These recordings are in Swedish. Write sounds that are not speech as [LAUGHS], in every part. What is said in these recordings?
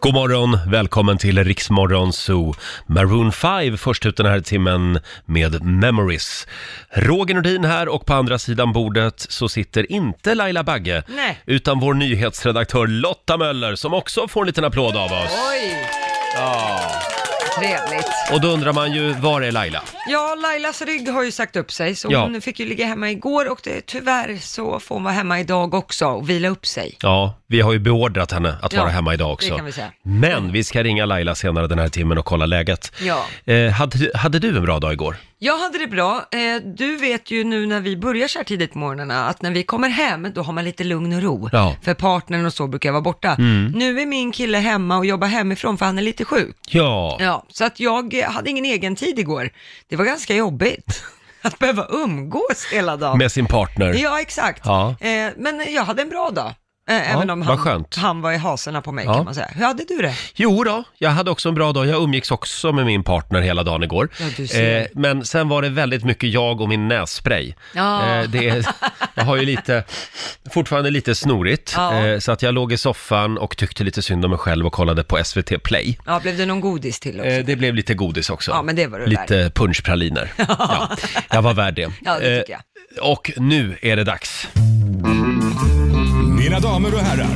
God morgon, välkommen till Riksmorgon Zoo. Maroon 5 först ut den här timmen med Memories. Roger Nordin här och på andra sidan bordet så sitter inte Laila Bagge Nej. utan vår nyhetsredaktör Lotta Möller som också får en liten applåd av oss. Oj, Ja. trevligt. Och då undrar man ju, var är Laila? Ja, Lailas rygg har ju sagt upp sig, så Ja. hon fick ju ligga hemma igår och det, tyvärr så får hon vara hemma idag också och vila upp sig. Ja, vi har ju beordrat henne att Ja, vara hemma idag Det också. kan vi säga. Men vi ska ringa Laila senare den här timmen och kolla läget. Ja. Eh, hade, hade du en bra dag igår? Jag hade det bra. Eh, Du vet ju nu när vi börjar så här tidigt på morgnarna att när vi kommer hem då har man lite lugn och ro. Ja. För partnern och så brukar jag vara borta. Mm. Nu är min kille hemma och jobbar hemifrån för han är lite sjuk. Ja. Ja, så att jag eh, hade ingen egen tid igår. Det var ganska jobbigt [LAUGHS] att behöva umgås hela dagen. Med sin partner? Ja, exakt. Ja. Eh, men jag hade en bra dag. Eh, även om vad han, skönt. han var i hasorna på mig Ja. kan man säga. Hur hade du det? Jo då, jag hade också en bra dag. Jag umgicks också med min partner hela dagen igår. Eh, Ja, du ser. men sen var det väldigt mycket jag och min nässpray. Ja. Eh, det är, jag har ju lite, fortfarande lite snorigt. Ja. Eh, så att jag låg i soffan och tyckte lite synd om mig själv och kollade på SVT Play. Ja, blev det någon godis till också? Eh, det blev lite godis också. Ja, men det var du värd. lite [LAUGHS] punschpraliner. ja, jag var värd det. Eh, Ja, det tycker jag. och nu är det dags. Mina damer och herrar,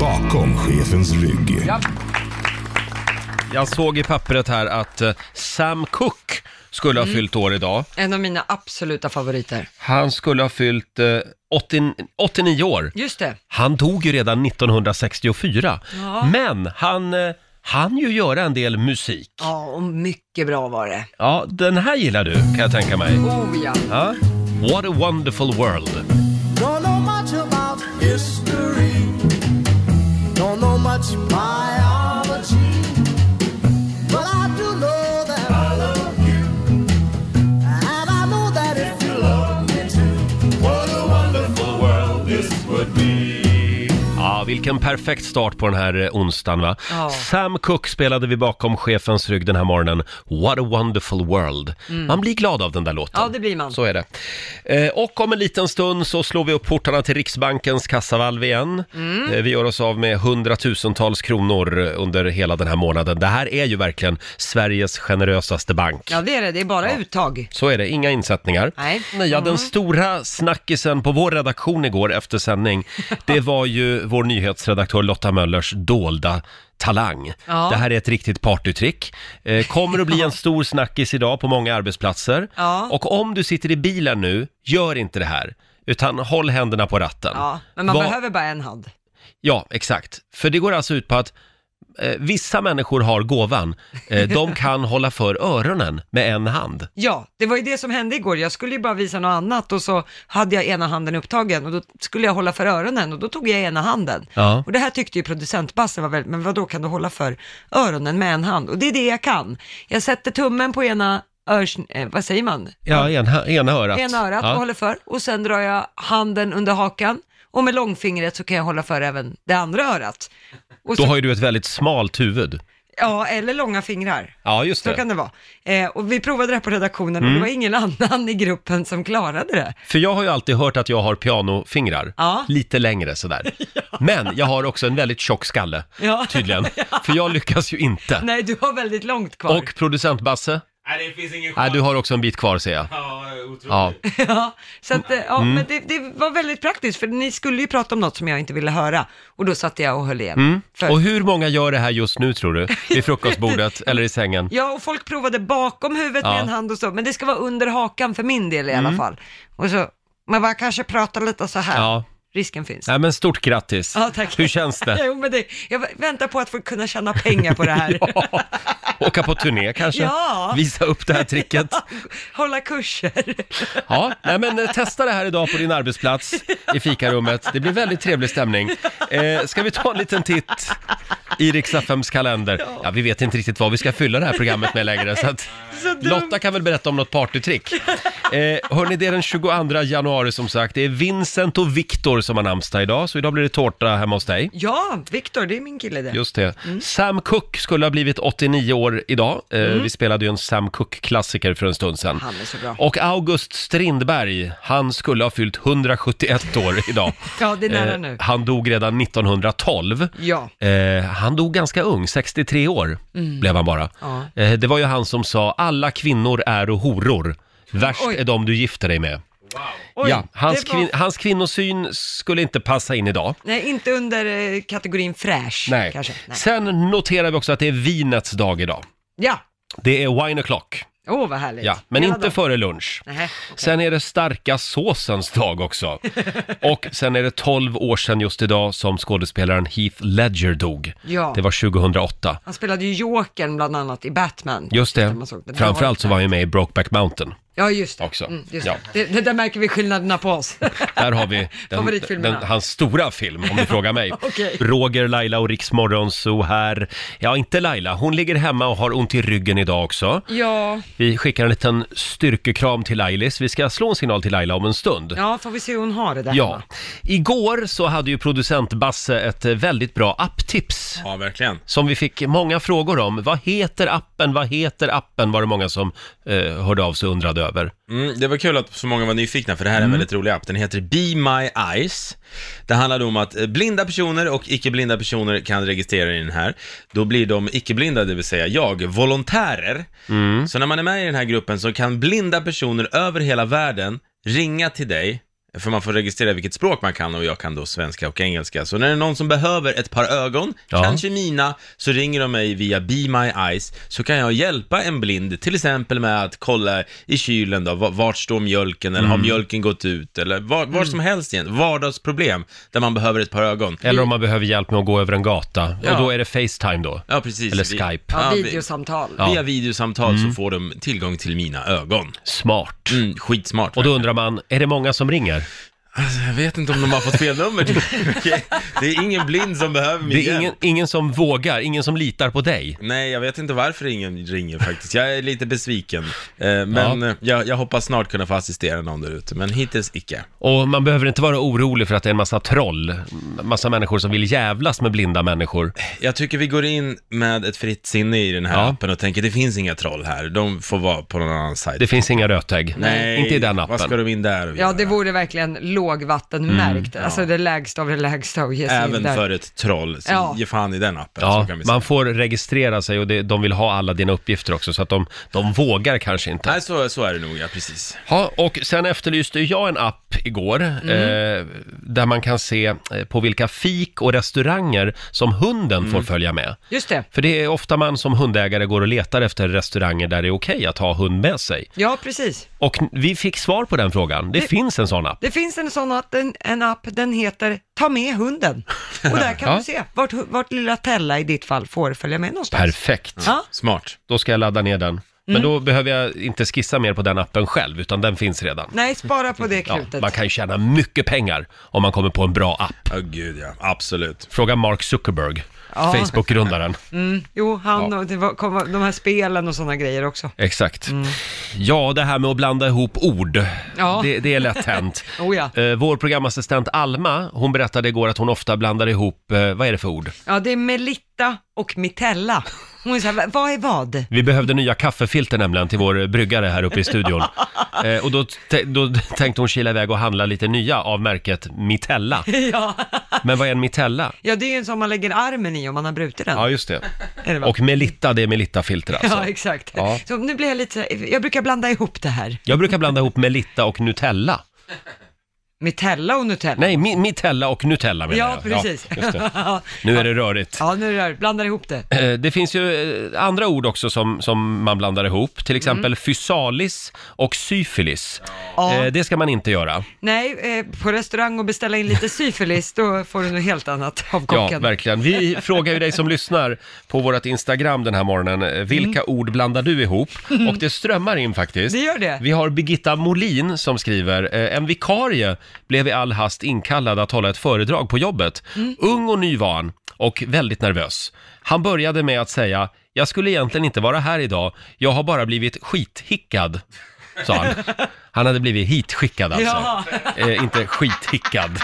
bakom chefens rygg. Jag såg i pappret här att eh, Sam Cooke skulle ha Mm. fyllt år idag. En av mina absoluta favoriter. Han skulle ha fyllt eh, 80, 89 år. Just det. Han dog ju redan 1964. Ja. Men han eh, han ju göra en del musik. Ja, och mycket bra var det. Ja, den här gillar du kan jag tänka mig. Oh ja. Ja. What a wonderful world. Don't know much about history. Don't know much biology. But I do know that I love you. And I know that if you love me too, what a wonderful world this would be. Ja, vilken perfekt start på den här eh, onsdagen va? Ja. Sam Cooke spelade vi bakom chefens rygg den här morgonen. What a wonderful world. Man blir glad av den där låten. Mm. Ja, det blir man. Så är det. Eh, Och om en liten stund så slår vi upp portarna till Riksbankens kassavalv igen. Mm. Eh, Vi gör oss av med hundratusentals kronor under hela den här månaden. Det här är ju verkligen Sveriges generösaste bank. Ja, det är det. Det är bara uttag. Så är det, inga insättningar. Nej. Mm. Ja, den stora snackisen på vår redaktion igår efter [LAUGHS] sändning, det var ju vår nyhetsredaktör Lotta Möllers dolda talang. Ja. Det här är ett riktigt partytrick. Eh, kommer att [LAUGHS] bli en stor snackis idag på många arbetsplatser. Ja. Och om du sitter i bilen nu, gör inte det här. Utan håll händerna på ratten. Ja, men man Vad- behöver bara en hand. Ja, exakt. För det går alltså ut på att eh, vissa människor har gåvan. Eh, de kan hålla för öronen med en hand. Ja, det var ju det som hände igår. Jag skulle ju bara visa något annat och så hade jag ena handen upptagen och då skulle jag hålla för öronen och då tog jag ena handen. Ja. Och det här tyckte ju producent Basse var väldigt, men vad då kan du hålla för öronen med en hand? Och det är det jag kan. Jag sätter tummen på ena örs... Eh, vad säger man? Ja, ena, ena örat. Ena örat ja. och håller för och sen drar jag handen under hakan och med långfingret så kan jag hålla för även det andra örat. Och Då så, har ju du ett väldigt smalt huvud. Ja, eller långa fingrar. Ja, Mm. just Så kan det vara. Eh, och vi provade det här på redaktionen och det var ingen [LAUGHS] annan i gruppen som klarade det. För jag har ju alltid hört att jag har pianofingrar. Ja. Lite längre [LAUGHS] sådär. Men jag har också en väldigt tjock skalle, [LAUGHS] Ja. tydligen. För jag lyckas ju inte. Nej, du har väldigt långt kvar. Och producent Basse, Nej, det finns ingen nej, chans. du har också en bit kvar ser jag. Ja, otroligt. Ja. Ja, så att, eh, ja, Mm. men det, det var väldigt praktiskt, för ni skulle ju prata om något som jag inte ville höra, och då satt jag och höll igen. För, Mm. Och hur många gör det här just nu tror du? Vid [LAUGHS] frukostbordet eller i sängen? ja, och folk provade bakom huvudet Ja. Mm. med en hand och så, men det ska vara under hakan för min del i alla fall. Och så, men man kanske pratar lite så här, Ja. risken finns. Nej men stort grattis. Ja, tack. Hur känns [LAUGHS] det? Jo, men det, jag väntar på att få kunna tjäna pengar på det här. [LAUGHS] Ja. Åka på turné kanske? Ja. Visa upp det här tricket? [LAUGHS] Hålla kurser. Ja, nej men eh, testa det här idag på din arbetsplats i fikarummet. Det blir väldigt trevlig stämning. Eh, ska vi ta en liten titt i Rix FMs kalender? Ja, vi vet inte riktigt vad vi ska fylla det här programmet med längre, så att Så dumt. Lotta kan väl berätta om något partytrick. Eh, hörni, det är den 22 januari som sagt. Det är Vincent och Viktor som har namnsdag idag, så idag blir det tårta hemma hos dig. Ja, Viktor, det är min kille det. Just det. Mm. Sam Cooke skulle ha blivit 89 år idag. Eh, Vi spelade ju en Sam Cooke-klassiker för en stund sedan. Mm. Han är så bra. Och August Strindberg, han skulle ha fyllt 171 år idag. Ja, [LAUGHS] det är nära Eh, nu. han dog redan 1912. Ja. Mm. Eh, han Han dog ganska ung, 63 år blev han bara. Ja. Eh, Det var ju han som sa alla kvinnor är och horor. Värst Oj. är de du gifter dig med. Oj, ja, hans, det var- kvin- hans kvinnosyn skulle inte passa in idag. Nej, inte under eh, kategorin fräsch Nej. kanske. Nej. Sen noterar vi också att det är vinets dag idag. Ja, Det är wine o'clock, åh vad härligt. ja, men Hela inte dagen. före lunch. Nähä, okej. Sen är det starka såsens dag också. [LAUGHS] Och sen är det 12 år sedan just idag som skådespelaren Heath Ledger dog. Ja. Det var 2008. Han spelade ju Jokern bland annat i Batman. Just det. Man såg den. Framförallt så var han ju med i Brokeback Mountain. Ja, just det. också. Mm, just Ja. det. Det, det där märker vi skillnaderna på oss. Där har [LAUGHS] vi den, den, Favoritfilmerna. hans stora film, om du frågar mig. [LAUGHS] Okej. Roger, Laila och Riks Morgonzoo här. Ja, inte Laila. Hon ligger hemma och har ont i ryggen idag också. ja. Vi skickar en liten styrkekram till Lailis. Vi ska slå en signal till Laila om en stund. ja, får vi se hur hon har det där Ja. hemma. Igår så hade ju producent Basse ett eh, väldigt bra apptips. Ja, verkligen. Som vi fick många frågor om. Vad heter appen? Vad heter appen? Var det många som eh, hörde av sig och undrade över. Mm, det var kul att så många var nyfikna, för det här är en Mm. väldigt rolig app. Den heter Be My Eyes. Det handlar om att eh, blinda personer och icke-blinda personer kan registrera i den här. Då blir de icke-blinda, det vill säga jag, volontärer. Mm. Så när man är med i den här gruppen så kan blinda personer över hela världen ringa till dig för man får registrera vilket språk man kan och jag kan då svenska och engelska. Så när det är någon som behöver ett par ögon, Ja. kanske mina, så ringer de mig via Be My Eyes, så kan jag hjälpa en blind, till exempel med att kolla i kylen då, va- vart står mjölken, eller Mm. har mjölken gått ut, eller vad, vad som helst egentligen, vardagsproblem där man behöver ett par ögon. Eller om man behöver hjälp med att gå över en gata. Ja. Och då är det Facetime då. Ja, precis. Eller Vi- Skype. Ja, vi- videosamtal. Ja. Mm. Via videosamtal så får de tillgång till mina ögon. Smart. Mm, skitsmart. Och då undrar man, är det många som ringer? Alltså, jag vet inte om de har fått fel [LAUGHS] nummer. Okej. Det är ingen blind som behöver min Det är hjälp. ingen, ingen som vågar, ingen som litar på dig. Nej, jag vet inte varför ingen ringer faktiskt. Jag är lite besviken. Eh, Men Ja. eh, jag, jag hoppas snart kunna få assistera någon där ute, men hittills icke. Och man behöver inte vara orolig för att det är en massa troll, massa människor som vill jävlas med blinda människor. Jag tycker vi går in med ett fritt sinne i den här Ja. appen och tänker det finns inga troll här, de får vara på någon annan sajt. Det finns inga rötägg. Inte i den Vad ska appen. de in där och Ja, göra? det vore verkligen lågvattenmärkt. Mm. alltså det lägsta av det lägsta att ge sig in Även där. för ett troll, så Ja. ge fan i den appen. Ja, så kan vi säga. man får registrera sig och det, de vill ha alla dina uppgifter också så att de, de vågar kanske inte. Nej, så, så är det nog, ja precis. Ja, och sen efterlyste jag en app igår Mm. eh, där man kan se eh, på vilka fik och restauranger som hunden Mm. får följa med. Just det. För det är ofta man som hundägare går och letar efter restauranger där det är okej att ha hund med sig. Ja, precis. Och vi fick svar på den frågan. Det, finns en sån app. Det finns en sån app, en, en app, den heter Ta med hunden. Och där kan [LAUGHS] Ja. du se vart, hu- vart lilla Tella i ditt fall får följa med någonstans. Perfekt. Ja, Mm. Smart. Då ska jag ladda ner den. Men då behöver jag inte skissa mer på den appen själv, utan den finns redan. nej, spara på det Ja, krutet. man kan ju tjäna mycket pengar om man kommer på en bra app. Ja, gud ja, absolut. Fråga Mark Zuckerberg, Ja. Mm. Facebook-grundaren. Jo, han och det var, kom, de här spelen och sådana grejer också. Exakt. Ja, det här med att blanda ihop ord, Mm. Ja. det, det är lätt hänt. Oh [LAUGHS] ja. Eh, Vår programassistent Alma, hon berättade igår att hon ofta blandar ihop, eh, vad är det för ord? Ja, det är Melitta och Mitella. Hon är så här, "Va- vad är vad? Vi behövde nya kaffefilter nämligen till vår bryggare här uppe i [LAUGHS] studion. eh, och då, t- då tänkte hon kila iväg och handla lite nya av märket Mitella. [LAUGHS] Ja. Men vad är en Mitella? ja, det är ju en som man lägger armen i om man har brutit den. Ja, just det. är det va? Och Melitta, det är Melitta-filter [LAUGHS] ja, alltså. exakt. Ja. Så nu blir jag lite, så här- jag brukar blanda ihop det här. Jag brukar blanda ihop Melitta och Nutella. Mitella och Nutella. Nej, mi- Mitella och Nutella menar ja, jag. precis. just det. Nu är det rörigt. [LAUGHS] Ja, nu är det här. Blandar ihop det. Eh, Det finns ju eh, andra ord också som, som man blandar ihop, Mm. till exempel fysalis och syfilis. Ja. Eh, Det ska man inte göra. Nej, eh, på restaurang och beställa in lite syfilis, då får du något helt annat av Ja, kocken. verkligen. Vi frågar ju dig som lyssnar på vårt Instagram den här morgonen, eh, vilka ord blandar du ihop? [LAUGHS] Och det strömmar in faktiskt. Mm. Det gör det. Vi har Birgitta Molin som skriver, eh, en vikarie blev i all hast inkallad att hålla ett föredrag på jobbet. Mm. Ung och ny var han och väldigt nervös. Han började med att säga, jag skulle egentligen inte vara här idag, jag har bara blivit skithickad. [LAUGHS] Sa han. Han hade blivit hitskickad alltså. Ja. Eh, inte skithickad.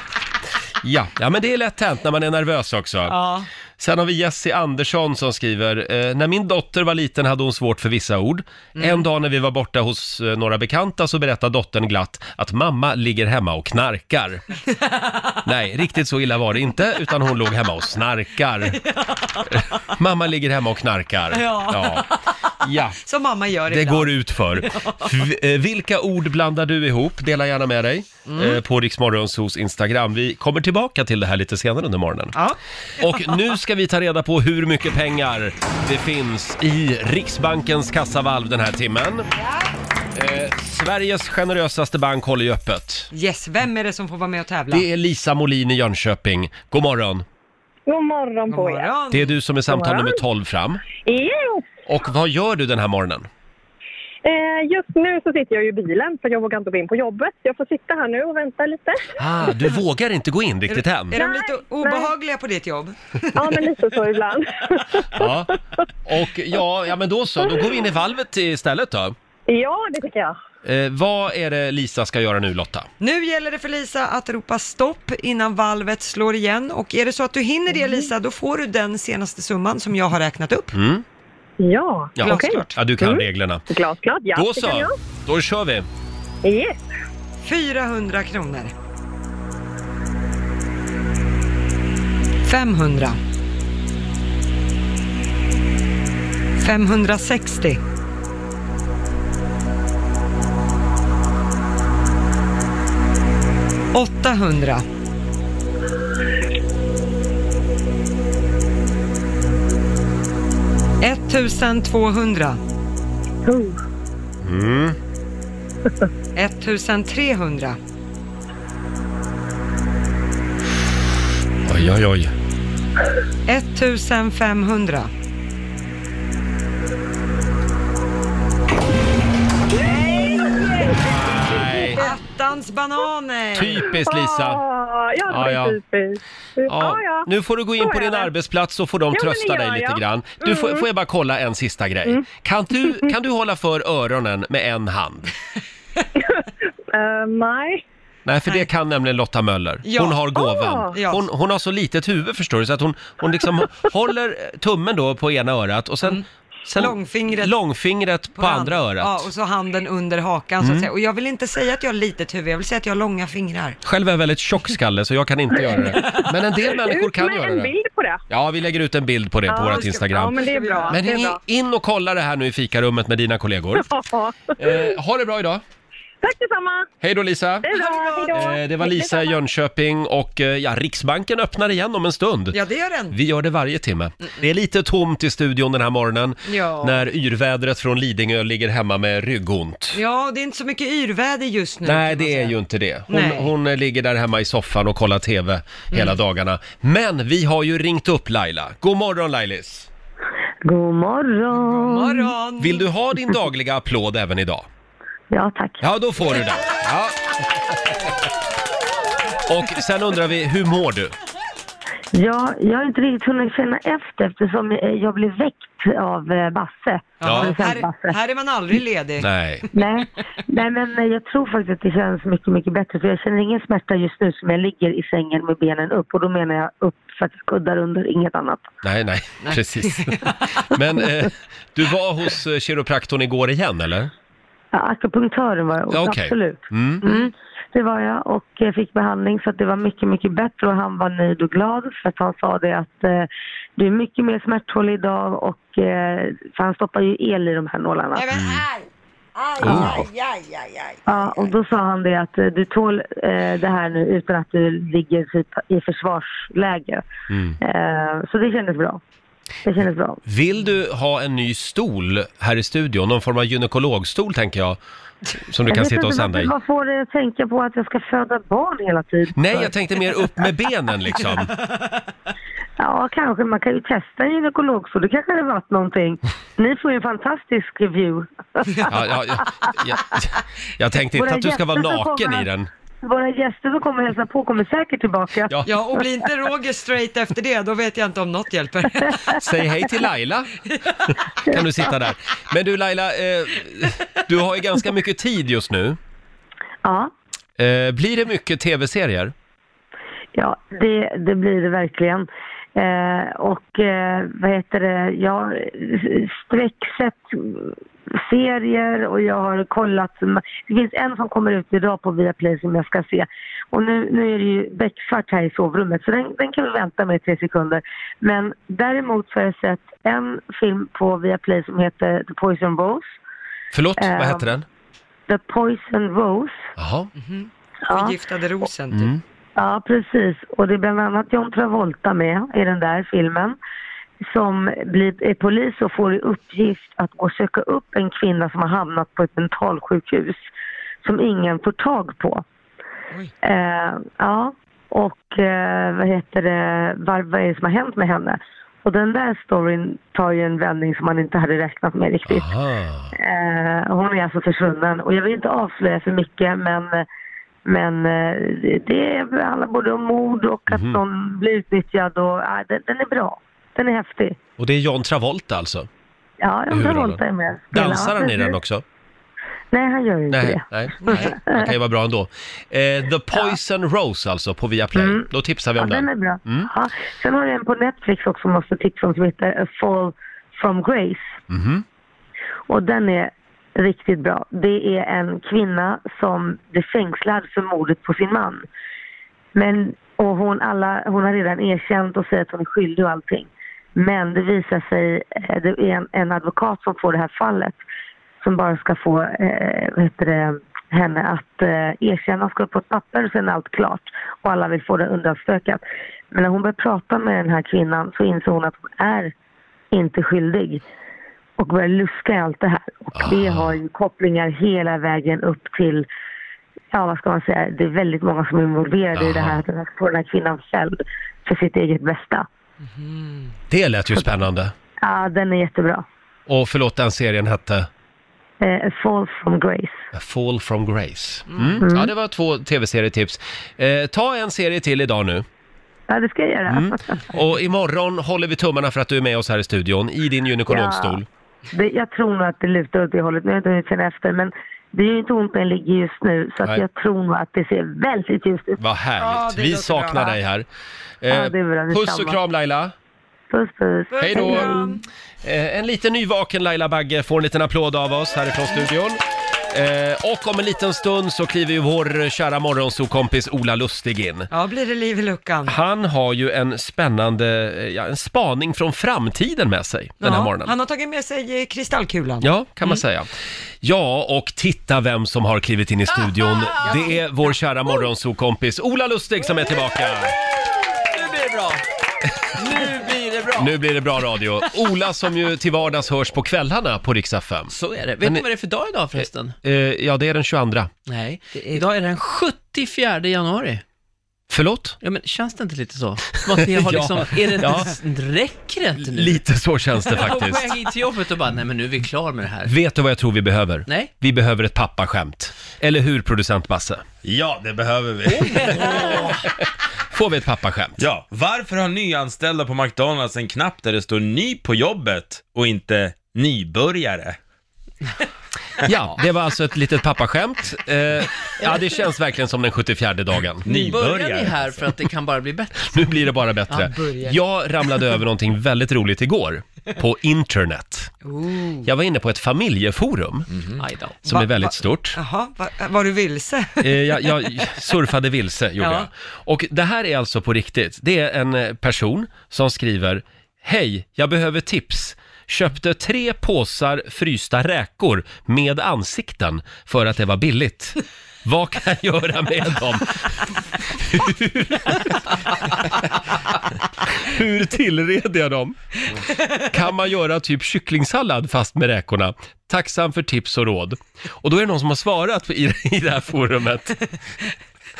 Ja, ja, men det är lätt hänt när man är nervös också. Ja. Sen har vi Jesse Andersson som skriver, eh, när min dotter var liten hade hon svårt för vissa ord. En dag när vi var borta hos eh, några bekanta så berättade dottern glatt att mamma ligger hemma och knarkar. Nej, riktigt så illa var det inte, utan hon låg hemma och snarkar. [LAUGHS] mamma ligger hemma och knarkar. Ja. ja. ja. Som mamma gör Det ibland. går ut för. V- eh, Vilka ord blandar du ihop? Dela gärna med dig eh, på Riksmorgons hos Instagram. Vi kommer tillbaka till det här lite senare under morgonen. Ja. Och nu ska vi ta reda på hur mycket pengar det finns i Riksbankens kassavalv den här timmen. Eh, Sveriges generösaste bank håller ju öppet. Yes, vem är det som får vara med och tävla? Det är Lisa Molin i Jönköping. God morgon! God morgon God på er. morgon. Det är du som är samtal morgon. nummer 12 fram. Yes. Och vad gör du den här morgonen? Eh, just nu så sitter jag ju i bilen för jag vågar inte gå in på jobbet. Jag får sitta här nu och vänta lite. Ah, du vågar inte gå in riktigt än. Är de Nej, lite obehagliga på ditt jobb? Ja, men lite så ibland. [LAUGHS] Ja. Och ja, ja, men då så, då går vi in i valvet istället då. ja, det tycker jag. Eh, vad är det Lisa ska göra nu Lotta? Nu gäller det för Lisa att ropa stopp innan valvet slår igen och är det så att du hinner Mm. det Lisa, då får du den senaste summan som jag har räknat upp. Ja, Ja, Glasklart. ja du kan reglerna. glasklart. Mm. Ja, Då det kan så, jag. då kör vi. Yes. 400 kronor. 500. 560. 800. 1200. Oh, 1300. Oj, oj, oj. 1500. Nej, Attans bananer! typiskt Lisa. Ah, ja, det Ja, var ja. typiskt. Ja, ja. Ja, nu får du gå in Så på är din det. arbetsplats så får de men trösta det dig gör lite jag. Mm. grann. Du, får, får jag bara kolla en sista grej? Kan [LAUGHS] du, kan du hålla för öronen med en hand? Eh, nej. Nej, för det kan nämligen Lotta Möller. Ja. Hon har gåvan. Ah. Ja. Hon, hon har så litet huvud förstår du, så att hon, hon liksom håller tummen då på ena örat och sen, sen Mm. Långfingret. långfingret på, andra hand. örat. Mm. Ja, och så handen under hakan så att säga. Och jag vill inte säga att jag har litet huvud, jag vill säga att jag har långa fingrar. Själv är jag väldigt tjock skalle så jag kan inte göra det. [LAUGHS] Men en del människor Ut kan med göra en det. bild på det. Ja, vi lägger ut en bild på det på vårt ska- Ja, Instagram. men det är bra. Men det är in, bra. in och kolla det här nu i fikarummet med dina kollegor. [LAUGHS] Ja. Eh, ha det bra idag. Tack detsamma. Hej då Lisa. Det är bra. Hej då. Eh, det var Lisa i Jönköping och eh, ja, Riksbanken öppnar igen om en stund. Ja, det gör den. Vi gör det varje timme. Det är lite tomt i studion den här morgonen Ja. när yrvädret från Lidingö ligger hemma med ryggont. Ja, det är inte så mycket yrväder just nu. Nej, kan man det är säga. ju inte det. Hon, Nej. hon ligger där hemma i soffan och kollar TV hela Mm. dagarna. Men vi har ju ringt upp Laila. God morgon Lailis! God morgon! Morgon! Vill Mm. du ha din dagliga applåd även idag? Ja, tack. Ja, då får du den. Ja. Och sen undrar vi, hur mår du? Ja, jag har inte riktigt hunnit känna efter eftersom eh, jag blev väckt av eh, Basse. Ja. Här, här är man aldrig ledig. Nej. Nej. Nej, men eh, jag tror faktiskt att det känns mycket, mycket bättre för jag känner ingen smärta just nu som jag ligger i sängen med benen upp och då menar jag upp faktiskt kuddar under, inget annat. Nej, nej, precis. Men eh, du var hos eh, kiropraktorn igår igen, eller? Ja, akupunktören var jag Ja, hos, okej. absolut. Mm. Mm, det var jag och jag fick behandling så att det var mycket, mycket bättre och han var nöjd och glad för att han sa det att eh, du är mycket mer smärtfull idag och eh, för han stoppar ju el i de här nålarna. Nej men aj! Aj, Oh. aj, aj, aj, aj. Ja, och då sa han det att eh, du tål eh, det här nu utan att du ligger typ i försvarsläge. Mm. Eh, så det kändes bra. Det kändes bra. Vill du ha en ny stol här i studion? Någon form av gynekologstol, tänker jag, som du Jag kan vet sitta och inte, sända vad- i. Vad får dig att tänka på att jag ska föda barn hela tiden? Nej, för? jag tänkte mer upp med benen liksom. Ja, kanske. Man kan ju testa en gynekolog så det kanske hade [LAUGHS] varit någonting. Ni får ju en fantastisk view. Ja, ja, ja, jag, jag tänkte inte Våra att du ska vara gäster som naken kommer- i den. Våra gäster som kommer och hälsar på kommer säkert tillbaka. Ja. Ja, och blir inte Roger straight efter det, då vet jag inte om något hjälper. Säg hej till Laila, kan du sitta där. Men du Laila, eh, du har ju ganska mycket tid just nu. Ja, Eh, blir det mycket tv-serier? ja det, det blir det verkligen. Eh, och eh, vad heter det, jag har sträcksett serier och jag har kollat. Det finns en som kommer ut idag på Viaplay som jag ska se. Och nu, nu är det ju becksvart här i sovrummet så den, den kan vi vänta med i tre sekunder. Men däremot så har jag sett en film på Viaplay som heter The Poison Rose. Förlåt, Eh, vad heter den? The Poison Rose. Jaha. [LAUGHS] Ja. Förgiftade rosen typ. Mm. Ja, precis. Och det är bland annat John Travolta med i den där filmen som blir, är polis och får i uppgift att gå och söka upp en kvinna som har hamnat på ett mentalsjukhus som ingen får tag på. Oj. Eh, ja, och eh, vad heter det, vad, vad är det som har hänt med henne? Och den där storyn tar ju en vändning som man inte hade räknat med riktigt. Aha. Eh, hon är alltså försvunnen och jag vill inte avslöja för mycket men, men eh, det- det handlar både om mord och att Mhm. någon blir utnyttjad och eh, den, den är bra. Den är häftig. Och det är John Travolta alltså? Ja, I John huvudrollen. Travolta är med. Spelar. Dansar han i precis. den också? Nej, han gör ju inte Nej, det. nej, nej. Det kan ju vara bra ändå. Eh, The Poison Rose alltså, på Viaplay. Mm. Då tipsar vi Ja, om den den. är bra. Mm. Ja. Sen har jag en på Netflix också som måste tipsa om som heter A Fall from Grace. Mhm. Och den är riktigt bra. Det är en kvinna som blir fängslad för mordet på sin man. Men, och hon, alla, hon har redan erkänt och säger att hon är skyldig och allting. Men det visar sig, eh, det är en, en advokat som får det här fallet som bara ska få eh, vad heter det, henne att eh, erkänna. Hon ska på ett papper och sen är allt klart och alla vill få det undanstökat. Men när hon börjar prata med den här kvinnan så inser hon att hon är inte skyldig och börjar luska i allt det här. Och det Aha. har ju kopplingar hela vägen upp till, ja vad ska man säga, det är väldigt många som är involverade i det Aha. här, att den här, få den här kvinnan fälld för sitt eget bästa. Det lät ju spännande. Ja, den är jättebra. Och förlåt, den serien hette? Eh, A Fall from Grace. A Fall from Grace. Mm. Ja, det var två tv-serietips. Eh, ta en serie till idag nu. Ja, det ska jag göra. Mm. Och imorgon håller vi tummarna för att du är med oss här i studion, i din gynekologstol. Det, jag tror nog att det lutar åt det hållet. Nu har jag inte hunnit känna efter, men det är ju inte ont den ligger just nu, så att Nej. jag tror nog att det ser väldigt ljust ut. Vad härligt. Ja, det vi låter saknar bra. dig här. Eh, Ja, det är bra, puss och detsamma. kram Laila. Puss, puss. Hej då. Eh, en lite nyvaken Laila Bagge får en liten applåd av oss härifrån studion. Eh, och om en liten stund så kliver ju vår kära morgonsokompis Ola Lustig in. Ja, blir det liv i luckan. Han har ju en spännande, eh, ja, en spaning från framtiden med sig den här ja, morgonen. Han har tagit med sig eh, kristallkulan. Ja, kan man säga. Ja, och titta vem som har klivit in i studion. Det är vår kära morgonsokompis Ola Lustig som är tillbaka. Nu blir det bra! Nu blir det bra! Nu blir det bra radio. Ola som ju till vardags hörs på kvällarna på Rix FM. Så är det. Vet Men- ni vad det är för dag idag förresten? Eh, ja, det är den 22. Nej, idag är det den 74 januari. Förlåt? Ja, men känns det inte lite så? Som att vi har [LAUGHS] Ja. liksom, är det inte, Ja. räcker det inte nu? Lite så känns [LAUGHS] det Jag var på faktiskt. väg hit till jobbet och bara, nej men nu är vi klara med det här. Vet du vad jag tror vi behöver? Nej. Vi behöver ett pappaskämt. Eller hur, producent Basse? Ja, det behöver vi. Får vi ett [LAUGHS] pappaskämt? Ja, varför har nyanställda på McDonalds en knapp där det står ny på jobbet och inte nybörjare? Ja, det var alltså ett litet pappaskämt. Eh, [LAUGHS] ja, det känns verkligen som den 74 dagen. Nu börjar vi Nybörjare, här för att det kan bara bli bättre. [LAUGHS] Nu blir det bara bättre. Ja, börja. Jag ramlade över någonting väldigt roligt igår på internet. Ooh. Jag var inne på ett familjeforum Aj då. som Va- är väldigt va- stort. Jaha, va- var du vilse? Eh, Jag, jag surfade vilse, gjorde Ja. jag. Och det här är alltså på riktigt. Det är en eh, person som skriver Hej, jag behöver tips. Köpte tre påsar frysta räkor med ansikten för att det var billigt. Vad kan jag göra med dem? [LAUGHS] Hur tillreder jag dem? Kan man göra typ kycklingsallad fast med räkorna? Tacksam för tips och råd. Och då är det någon som har svarat i, i det här forumet.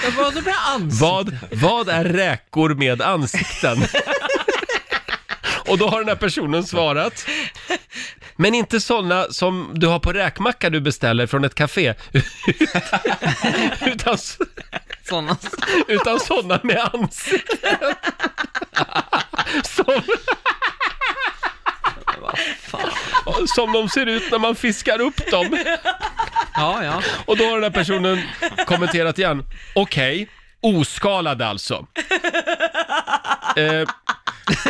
Men Vad det med ans? Vad, vad är räkor med ansikten? Och då har den här personen svarat. Men inte sådana som du har på räkmacka du beställer från ett café. [LAUGHS] utan, s- Sådana. utan sådana med ansikten. [LAUGHS] Som, som de ser ut när man fiskar upp dem. Ja, ja. Och då har den här personen kommenterat igen. Okej, oskalad alltså. Eh,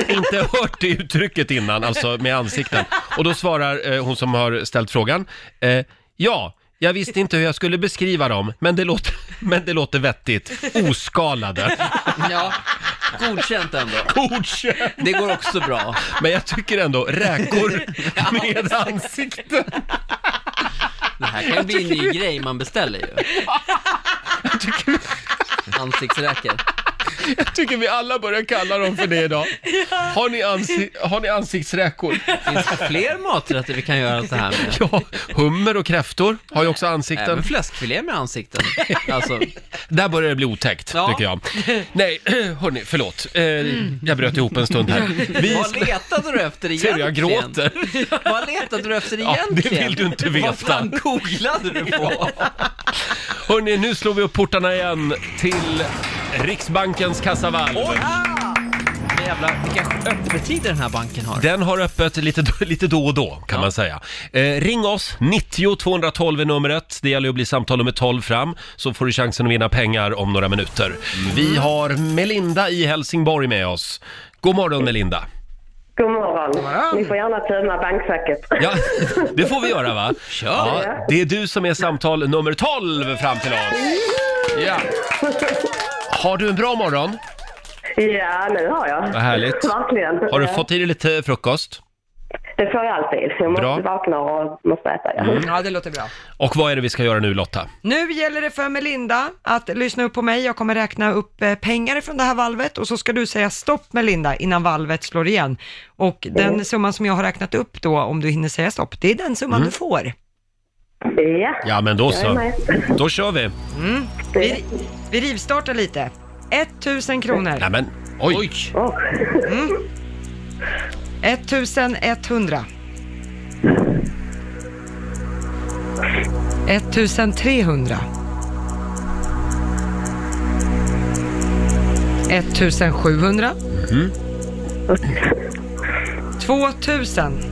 inte hört det uttrycket innan, alltså med ansikten. Och då svarar eh, hon som har ställt frågan, eh, ja, jag visste inte hur jag skulle beskriva dem, men det låter, men det låter vettigt. Oskalade. Ja, godkänt ändå. Godkänt! Det går också bra. Men jag tycker ändå, räkor med ansikten. Det här kan ju bli en ny grej man beställer ju. [LAUGHS] Ansiktsräkor. Jag tycker vi alla börjar kalla dem för det idag. Har ni, ansi- har ni ansiktsräkor? Finns det fler maträtter vi kan göra så här med? Ja, hummer och kräftor har ju också Även ansikten. fläskfilé med ansikten. Alltså, Där börjar det bli otäckt, Ja. tycker jag. Nej, [CLEARS THROAT] hörni, förlåt. Eh, jag bröt ihop en stund här. Vi vad letade du efter Ser egentligen? du, jag gråter. Vad letade du efter Ja, egentligen? det vill du inte Vad veta. fan googlade du på? Hörni, nu slår vi upp portarna igen till Riksbankens kassavalv. Jävlar, vilka öppettider den här banken har. Den har öppet lite, lite då och då kan man säga. Eh, ring oss, 90 212 är numret. Det gäller att bli samtal nummer 12 fram så får du chansen att vinna pengar om några minuter. Vi har Melinda i Helsingborg med oss. God morgon Melinda! God morgon. Ni får gärna tömma bankfacket. Ja, [LAUGHS] det får vi göra va? Kör. Ja, det är du som är samtal nummer 12 fram till oss. Ja. Har du en bra morgon? Ja, nu har jag. Vad härligt. Verkligen. Har du fått i dig lite frukost? Det får jag alltid. Jag måste Bra. Mm. vakna och måste äta. Ja. Ja, det låter bra. Och vad är det vi ska göra nu Lotta? Nu gäller det för Melinda att lyssna upp på mig. Jag kommer räkna upp eh, pengar från det här valvet och så ska du säga stopp Melinda innan valvet slår igen. Och den summan som jag har räknat upp då, om du hinner säga stopp, det är den summan du får. ja. Ja men då Jag är så, med. då kör vi! Det- Vi, vi rivstartar lite. 1000 kronor, Nej men, oj! oj. åh. 1100, 1300, 1700, 2000,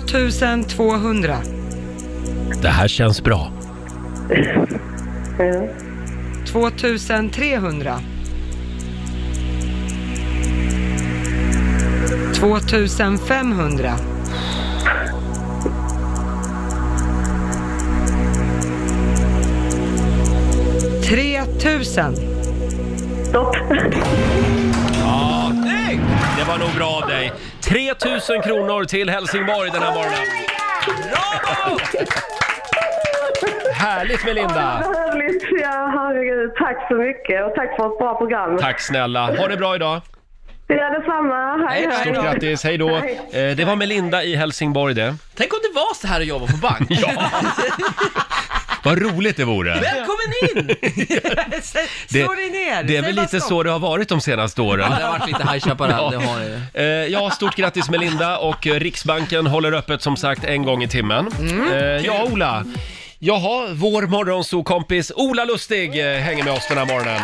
2200, Det här känns bra. 2300. 2500. 3000. Stopp. Det var nog bra av dig. 3 000 kronor till Helsingborg den här morgonen. Härligt Melinda! Behövligt. Ja, herregud. Tack så mycket och tack för ett bra program. Tack snälla. Ha det bra idag. Ja, detsamma. Hej, hej. Stort grattis, hej då. Eh, Det var Melinda i Helsingborg det. Tänk om det var så här att jobba [LAUGHS] på bank. Vad roligt det vore. Välkommen [LAUGHS] in! Det- [LAUGHS] Slå dig ner! Det är Säg väl bara lite stopp. så det har varit de senaste åren. Ja, det har varit lite High Chaparral, det har det ju. Eh, Ja, stort grattis Melinda och eh, Riksbanken håller öppet som sagt en gång i timmen. Mm. Eh, Ja, Ola. Jaha, vår morgonsokompis Ola Lustig eh, hänger med oss den här morgonen.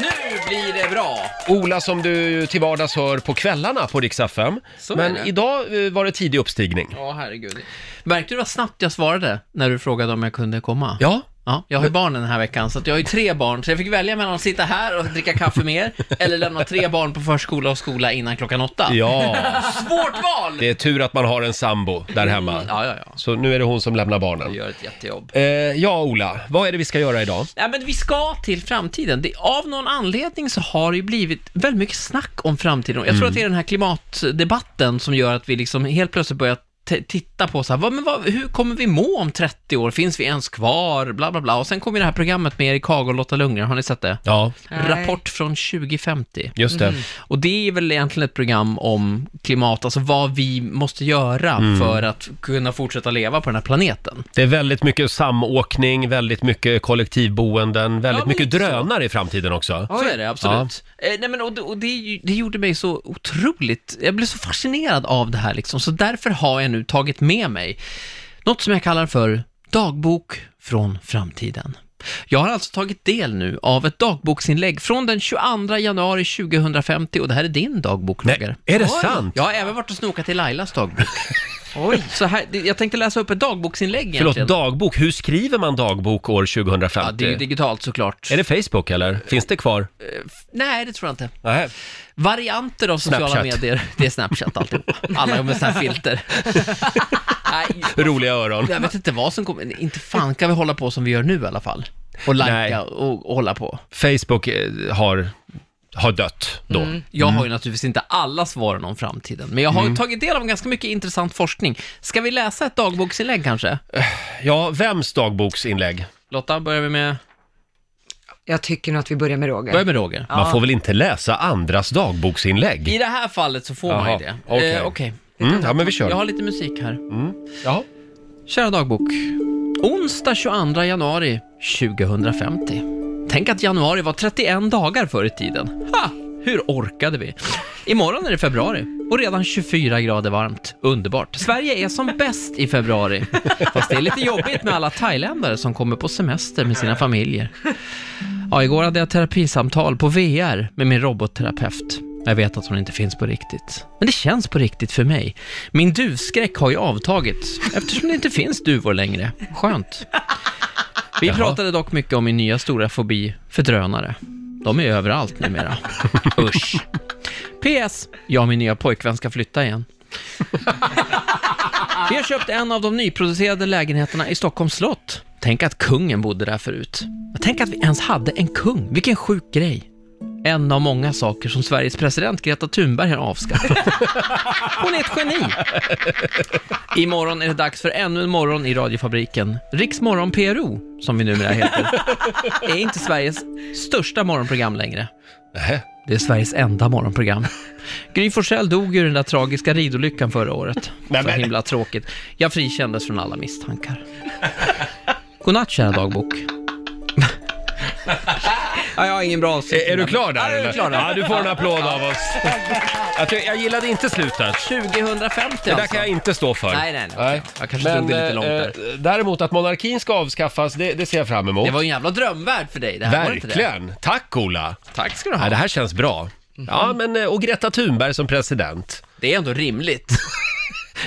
Nu blir det bra! Ola som du till vardags hör på kvällarna på Rix FM. Så Men är det. idag eh, var det tidig uppstigning. Ja, herregud. Märkte du vad snabbt jag svarade när du frågade om jag kunde komma? Ja, Ja, jag har ju barn den här veckan, så att jag har ju tre barn, så jag fick välja mellan att sitta här och dricka kaffe med er, eller lämna tre barn på förskola och skola innan klockan åtta. ja. Svårt val! Det är tur att man har en sambo där hemma. Mm, Ja, ja, ja. Så nu är det hon som lämnar Du barnen. gör ett jättejobb. Eh, ja, Ola, vad är det vi ska göra idag? Ja, men vi ska till framtiden. Det, av någon anledning så har det ju blivit väldigt mycket snack om framtiden. Jag tror Mm. att det är den här klimatdebatten som gör att vi liksom helt plötsligt börjar t- titta på så här, vad, men vad, hur kommer vi må om 30 år? Finns vi ens kvar? Bla, bla, bla. Och sen kommer det här programmet med Erik Haag och Lotta Lundgren, har ni sett det? Ja, Nej. Rapport från 2050. just det. Och det är väl egentligen ett program om klimat, alltså vad vi måste göra för att kunna fortsätta leva på den här planeten. Det är väldigt mycket samåkning, väldigt mycket kollektivboenden, väldigt men mycket lite så. drönare i framtiden också. Så är det, absolut. Eh, nej men, och det, och det, är ju- det gjorde mig så otroligt, jag blev så fascinerad av det här liksom, så därför har jag nu tagit med mig något som jag kallar för dagbok från framtiden. Jag har alltså tagit del nu av ett dagboksinlägg från den 22 januari 2050 och det här är din dagbok, Nej, Roger. är det sant? [LAUGHS] Jag har även varit och snokat i Lailas dagbok. Så här, det- jag tänkte läsa upp ett dagboksinlägg Förlåt, egentligen. dagbok. Hur skriver man dagbok år 2050? Ja, det är ju digitalt såklart. Är det Facebook eller? Finns det kvar? Nej, det tror jag inte. Nej. Varianter av sociala Snapchat. medier. Det är Snapchat alltihopa. Alla med sådana här filter. Nej, Roliga öron. jag vet inte vad som kommer. Inte fan kan vi hålla på som vi gör nu i alla fall. Och Nej. lajka och, och hålla på. Facebook eh, har, har dött då. Jag Mm. har ju naturligtvis inte alla svaren om framtiden, men jag har ju tagit del av ganska mycket intressant forskning. Ska vi läsa ett dagboksinlägg kanske? Ja, vems dagboksinlägg? Lotta, börjar vi med... Jag tycker nog att vi börjar med Roger. Börja med Roger. Man får väl inte läsa andras I dagboksinlägg? det här fallet så får man ju Jaha, det. okej. Eh, okej. Mm, ja, men vi kör. Jag har lite musik här. Jaha. Kära dagbok. Onsdag 22 januari 2050. Tänk att januari var 31 dagar förr i tiden. Ha! Hur orkade vi? Imorgon är det februari och redan 24 grader varmt. Underbart. Sverige är som bäst i februari. Fast det är lite jobbigt med alla thailändare som kommer på semester med sina familjer. Ja, igår hade jag terapisamtal på VR med min robotterapeut. Jag vet att hon inte finns på riktigt. Men det känns på riktigt för mig. Min duvskräck har ju avtagit eftersom det inte finns duvor längre. Skönt. Vi pratade dock mycket om min nya stora fobi för drönare. De är överallt numera. Usch. PS. Jag och min nya pojkvän ska flytta igen. Vi har köpt en av de nyproducerade lägenheterna i Stockholms slott. Tänk att kungen bodde där förut. Men Tänk att vi ens hade en kung. Vilken sjuk grej. En av många saker som Sveriges president Greta Thunberg har avskaffat. [LAUGHS] Hon är ett geni. Imorgon är det dags för ännu en morgon i radiofabriken. Riksmorgon PRO, som vi numera heter, är inte Sveriges största morgonprogram längre. Nähä. Det är Sveriges enda morgonprogram. Gry Forssell dog ju den där tragiska ridolyckan förra året. Så himla tråkigt. Jag frikändes från alla misstankar. Godnatt kära dagbok. [LAUGHS] ja, jag har ingen bra avsikt. Är, är du klar där? Ja, jag är eller? klar där. Ja, du får en applåd av [LAUGHS] oss. Jag, tycker- jag gillade inte slutet. 2050 Det där alltså. kan jag inte stå för. Nej, nej, nej. Jag kanske Men, drog det lite långt där. eh, Däremot att monarkin ska avskaffas, det, det ser jag fram emot. Det var ju en jävla drömvärld för dig det här, var det inte det? Verkligen! Tack Ola! Tack ska du Ja, ha. det här känns bra. Ja, men eh, och Greta Thunberg som president. Det är ändå rimligt.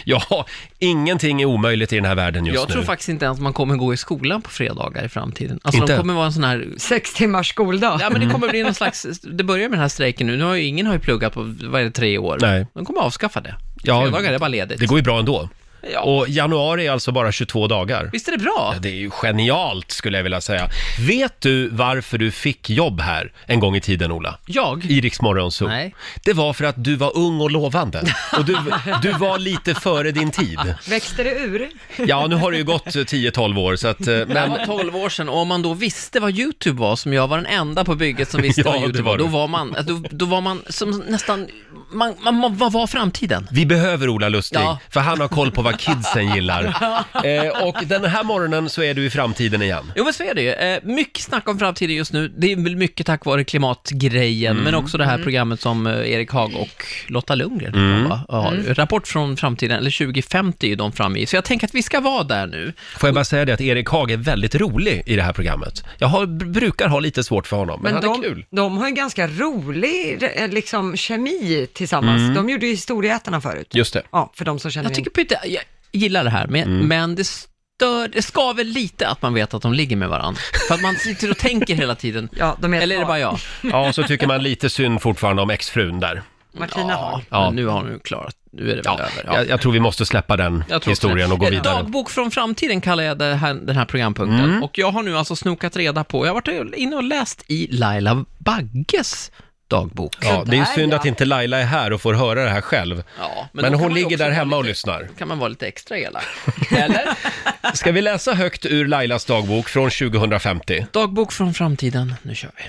Ja, ingenting är omöjligt i den här världen just Jag tror nu. faktiskt inte ens man kommer gå i skolan på fredagar i framtiden. Alltså Inte? de kommer vara en sån här Sex timmars skoldag. Ja, men det kommer [LAUGHS] bli någon slags, det börjar med den här strejken nu, nu har ju ingen har ju pluggat på, vad är det, tre år. Nej. De kommer avskaffa det. Ja, Fredagar är bara ledigt. Det går ju bra ändå. Ja. Och januari är alltså bara 22 dagar. Visst är det bra? Det är ju genialt skulle jag vilja säga. Vet du varför du fick jobb här en gång i tiden, Ola? Jag? I Rix Morgon Zoo. Nej. Det var för att du var ung och lovande. Och du, du var lite före din tid. Växte det ur? Ja, nu har det ju gått 10-12 år så att... eh, Det här Men, var 12 år sedan och om man då visste vad YouTube var, som jag var den enda på bygget [LAUGHS] som visste Ja, vad det YouTube var var, då du. var man, eh, då, då var man som nästan, man, man, man, vad var framtiden? Vi behöver Ola Lustig, Ja. för han har koll på vad kidsen gillar. [LAUGHS] Eh, och den här morgonen så är du i framtiden igen. Jo men så är det ju. Eh, mycket snack om framtiden just nu. Det är väl mycket tack vare klimatgrejen, men Mm. också det här programmet som eh, Erik Haag och Lotta Lundgren Mm. va, har. Rapport från framtiden, eller 2050 är ju de framme i. Så jag tänker att vi ska vara där nu. Får jag bara säga det att Erik Haag är väldigt rolig i det här programmet. Jag har, brukar ha lite svårt för honom, men, Men han de, är kul. de har ju ganska rolig eh, liksom, kemi tillsammans. Mm. De gjorde ju Historieätarna förut. Just det. Ja, för de som känner Jag Mm. tycker pytte, jag gillar det här, men, men det stör, det skaver lite att man vet att de ligger med varandra. För att man sitter och tänker [LAUGHS] hela tiden. Ja, de är ett Eller är det par. bara jag? Ja, och så tycker man lite synd fortfarande om exfrun där. in. Martina Haag. ja. Ja. men nu har hon ju klarat, nu är det väl Ja, över. Ja. jag, jag tror vi måste släppa den Jag tror också historien det. och gå Eh, vidare. Mm. Dagbok från framtiden kallar jag det här, den här programpunkten. Och jag har nu alltså snokat reda på, jag har varit inne och läst i Laila Bagges dagbok. Ja, det är Sådär, synd ja. att inte Laila är här och får höra det här själv. Ja, men då kan hon man ju ligger också där vara hemma och lite- lyssnar. kan man vara lite extra elak. Eller? [LAUGHS] Ska vi läsa högt ur Lailas dagbok från 2050? Dagbok från framtiden. Nu kör vi.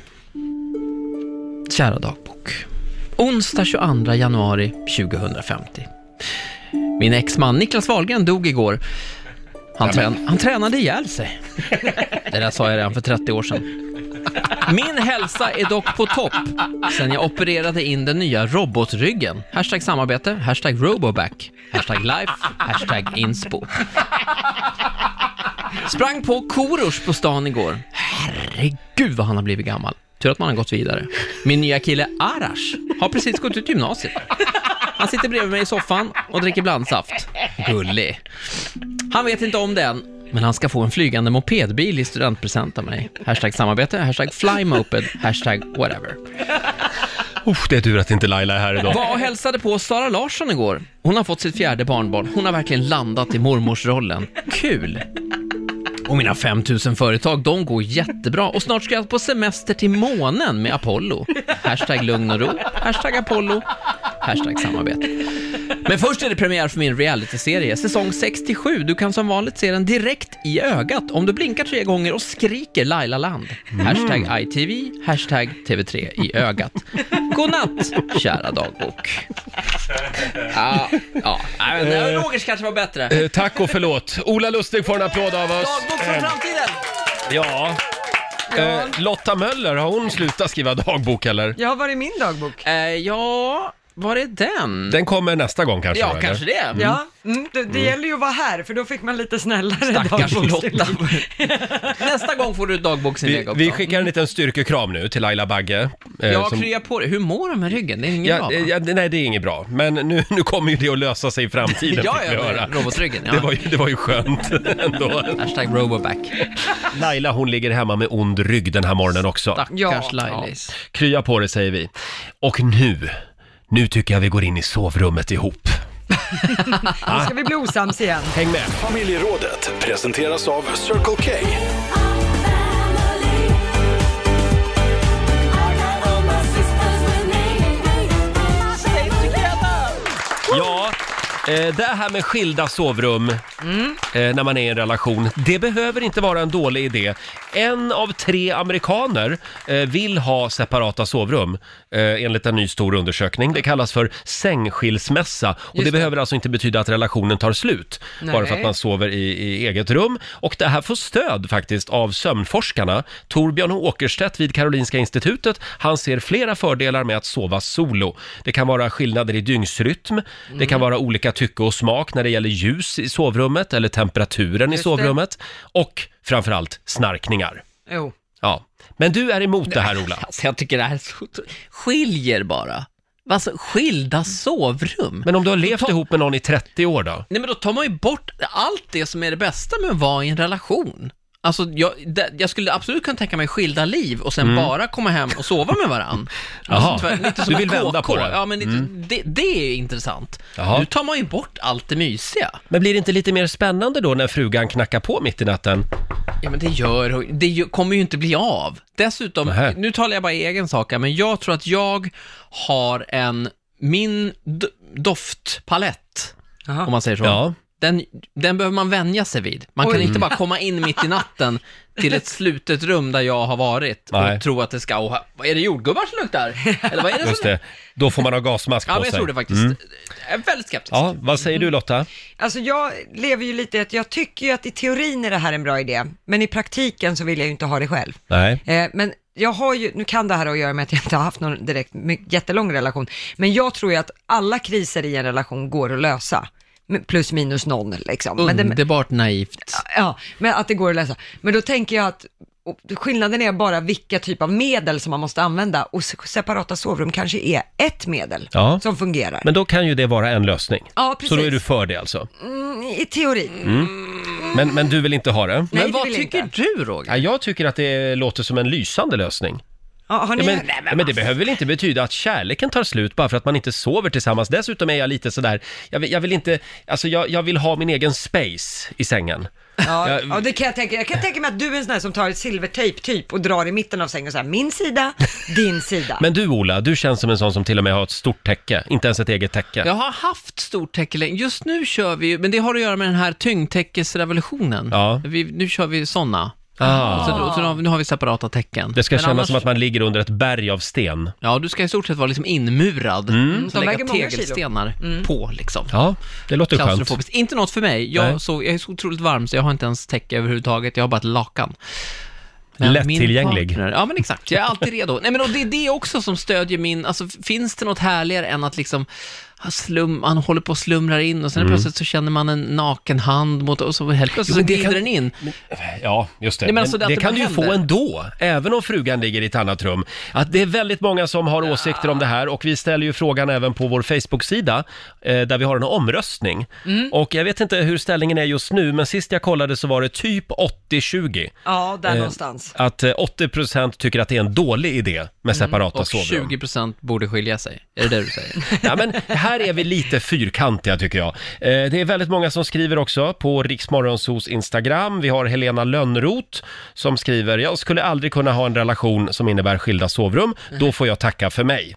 Kära dagbok. Onsdag 22 januari 2050. Min exman Niklas Wahlgren dog igår. Han, trän- han tränade ihjäl sig. Det där sa jag redan för 30 år sedan. Min hälsa är dock på topp sen jag opererade in den nya robotryggen. Hashtag samarbete, hashtag roboback, hashtag life, hashtag inspo. Sprang på Korosh på stan igår. Herregud vad han har blivit gammal. Tur att man har gått vidare. Min nya kille Arash har precis gått ut gymnasiet. Han sitter bredvid mig i soffan och dricker blandsaft. Gullig. Han vet inte om det än, men han ska få en flygande mopedbil i studentpresent av mig. Hashtag samarbete, hashtag flymoped, hashtag whatever. Uff, det är tur att inte Laila är här idag. Var och hälsade på Sara Larsson igår. Hon har fått sitt fjärde barnbarn. Hon har verkligen landat i mormorsrollen. Kul! Och mina 5000 företag, de går jättebra. Och snart ska jag på semester till månen med Apollo. Hashtag lugn och ro, hashtag Apollo, hashtag samarbete. Men först är det premiär för min realityserie, säsong 67. Du kan som vanligt se den direkt i ögat om du blinkar tre gånger och skriker Laila Land. Hashtag ITV, hashtag TV3 i ögat. God natt, kära dagbok. Ja, ja. Nej, men Rogers kanske var bättre. Eh, tack och förlåt. Ola Lustig får en applåd av oss. Dagbok från framtiden! Ja. Eh, Lotta Möller, har hon slutat skriva dagbok eller? Jag har varit i min dagbok. Eh, ja, var är den? Den kommer nästa gång kanske? ja, då, eller? kanske det. Ja, mm, det, det gäller ju att vara här, för då fick man lite snällare Stackars dagboksstil. Lotta. [LAUGHS] Nästa gång får du ett dagboksinlägg Vi, också. vi skickar en liten styrkekram nu till Laila Bagge. eh, Ja, som- krya på dig. Hur mår de med ryggen? Det är inget ja, eh, bra va? ja, nej, det är inget bra. Men nu, [LAUGHS] nu kommer ju det att lösa sig i framtiden, Ja, fick vi ja, höra. men robotryggen. Det, Ja. var ju, det var ju skönt [LAUGHS] ändå. Hashtag Roboback. Laila, hon ligger hemma med ond rygg den här morgonen också. Stackars Ja. Lailis. Krya på det säger vi. Och nu, nu tycker jag vi går in i sovrummet ihop. Nu [LAUGHS] ska vi bli osams igen. Häng med! Familjerådet presenteras av Circle K. Ja, eh, det här med skilda sovrum eh, när man är i en relation, det behöver inte vara en dålig idé. En av tre amerikaner eh, vill ha separata sovrum eh, enligt en ny stor undersökning. Det kallas för sängskilsmässa och det, det. behöver alltså inte betyda att relationen tar slut bara för att Nej. man sover i, i eget rum. Och det här får stöd faktiskt av sömnforskarna. Torbjörn Åkerstedt vid Karolinska institutet, han ser flera fördelar med att sova solo. Det kan vara skillnader i dygnsrytm, det kan vara olika tycke och smak när det gäller ljus i sovrummet eller temperaturen i Just det. sovrummet och framförallt snarkningar. Jo. Ja. Men du är emot det här Ola. Alltså jag tycker det här är så... Skiljer bara. Alltså, skilda sovrum. Men om du har levt ihop med någon i 30 år då? Nej men då tar man ju bort allt det som är det bästa med att vara i en relation. Alltså jag, det, jag skulle absolut kunna tänka mig skilda liv och sen bara komma hem och sova med varann. Mm. [LAUGHS] Jaha, tvär- lite som du vill en vända KK. på det. Mm. Ja men lite, det, det är intressant. Jaha. Nu tar man ju bort allt det mysiga. Men blir det inte lite mer spännande då när frugan knackar på mitt i natten? Ja men det gör det ju- kommer ju inte bli av. Dessutom, Nähä. nu talar jag bara i egen sak här, men jag tror att jag har en, min d- doftpalett, Jaha. om man säger så. Ja. Den, den behöver man vänja sig vid. Man kan inte bara komma in mitt i natten till ett slutet rum där jag har varit och Nej. tro att det ska... Åh, vad är det jordgubbar som luktar? Eller vad är det Just som... det, då får man ha gasmask Ja, på men jag sig. Mm. tror det faktiskt. Jag är väldigt skeptisk. Ja, vad säger du Lotta? Alltså jag lever ju lite i att jag tycker ju att i teorin är det här en bra idé, men i praktiken så vill jag ju inte ha det själv. Nej. Eh, men jag har ju, nu kan det här ha att göra med att jag inte har haft någon direkt my- jättelång relation, men jag tror ju att alla kriser i en relation går att lösa. M- Plus minus noll liksom. Men det, Underbart naivt. ja, men att det går att lösa. Men då tänker jag att och skillnaden är bara vilka typ av medel som man måste använda och se- separata sovrum kanske är ett medel Ja. som fungerar. Men då kan ju det vara en lösning. Ja, Så då precis. är du för det alltså. Mm, I teorin. Men, men du vill inte ha det? Nej, men det vad vill jag tycker inte. du, Roger? Ja, jag tycker att det låter som en lysande lösning. Ja, har ni... Ja, men, ja, alltså. men det behöver väl inte betyda att kärleken tar slut bara för att man inte sover tillsammans. Dessutom är jag lite sådär, jag vill, jag vill inte, alltså jag, jag vill ha min egen space i sängen. Ja, Jag- ja, det kan jag tänka. Jag kan tänka mig att du är en sån här som tar ett silvertejp typ och drar i mitten av sängen och säger min [LAUGHS] sida, din sida. Men du Ola, du känns som en sån som till och med har ett stort täcke, inte ens ett eget täcke. Jag har haft stort täcke länge. Just nu kör vi ju, men det har att göra med den här tyngdtäckesrevolutionen. Ja. Vi, nu kör vi sådana. Ah. Så, då- så då- nu har vi separata tecken. Det ska Men kännas annars- som att man ligger under ett berg av sten. Ja, du ska i stort sett vara liksom inmurad. Mm. Så de lägga väger många kilo. Mm. tegelstenar på liksom. Ja, det låter skönt. Klaustrofobiskt. Inte något för mig. Nej. Jag, så, jag är så otroligt varm så jag har inte ens täcke överhuvudtaget. Jag har bara ett lakan. Men Lättillgänglig. min partner- Ja, men exakt. Jag är alltid redo. Nej, men och det är det också som stödjer min... Alltså, finns det något härligare än att liksom han slum, man håller på och slumrar in och sen Mm. plötsligt så känner man en naken hand mot och så helt Jo, plötsligt men så det glider kan- den in. Ja, just det. Nej, men men alltså, det, det att det kan du bara ju få händer. ändå, även om frugan ligger i ett annat rum. Att det är väldigt många som har åsikter om det här och vi ställer ju frågan även på vår Facebook-sida eh, där vi har en omröstning. Mm. Och jag vet inte hur ställningen är just nu, men sist jag kollade så var det typ 80-20. Ja, där Eh, någonstans. Att eh, 80% tycker att det är en dålig idé med separata Mm, Och sovrum. 20% borde skilja sig. Är det det du säger? Ja, men här är vi lite fyrkantiga tycker jag. Eh, Det är väldigt många som skriver också på Riksmorgonsos Instagram. Vi har Helena Lönnroth som skriver “Jag skulle aldrig kunna ha en relation som innebär skilda sovrum. Då får jag tacka för mig.”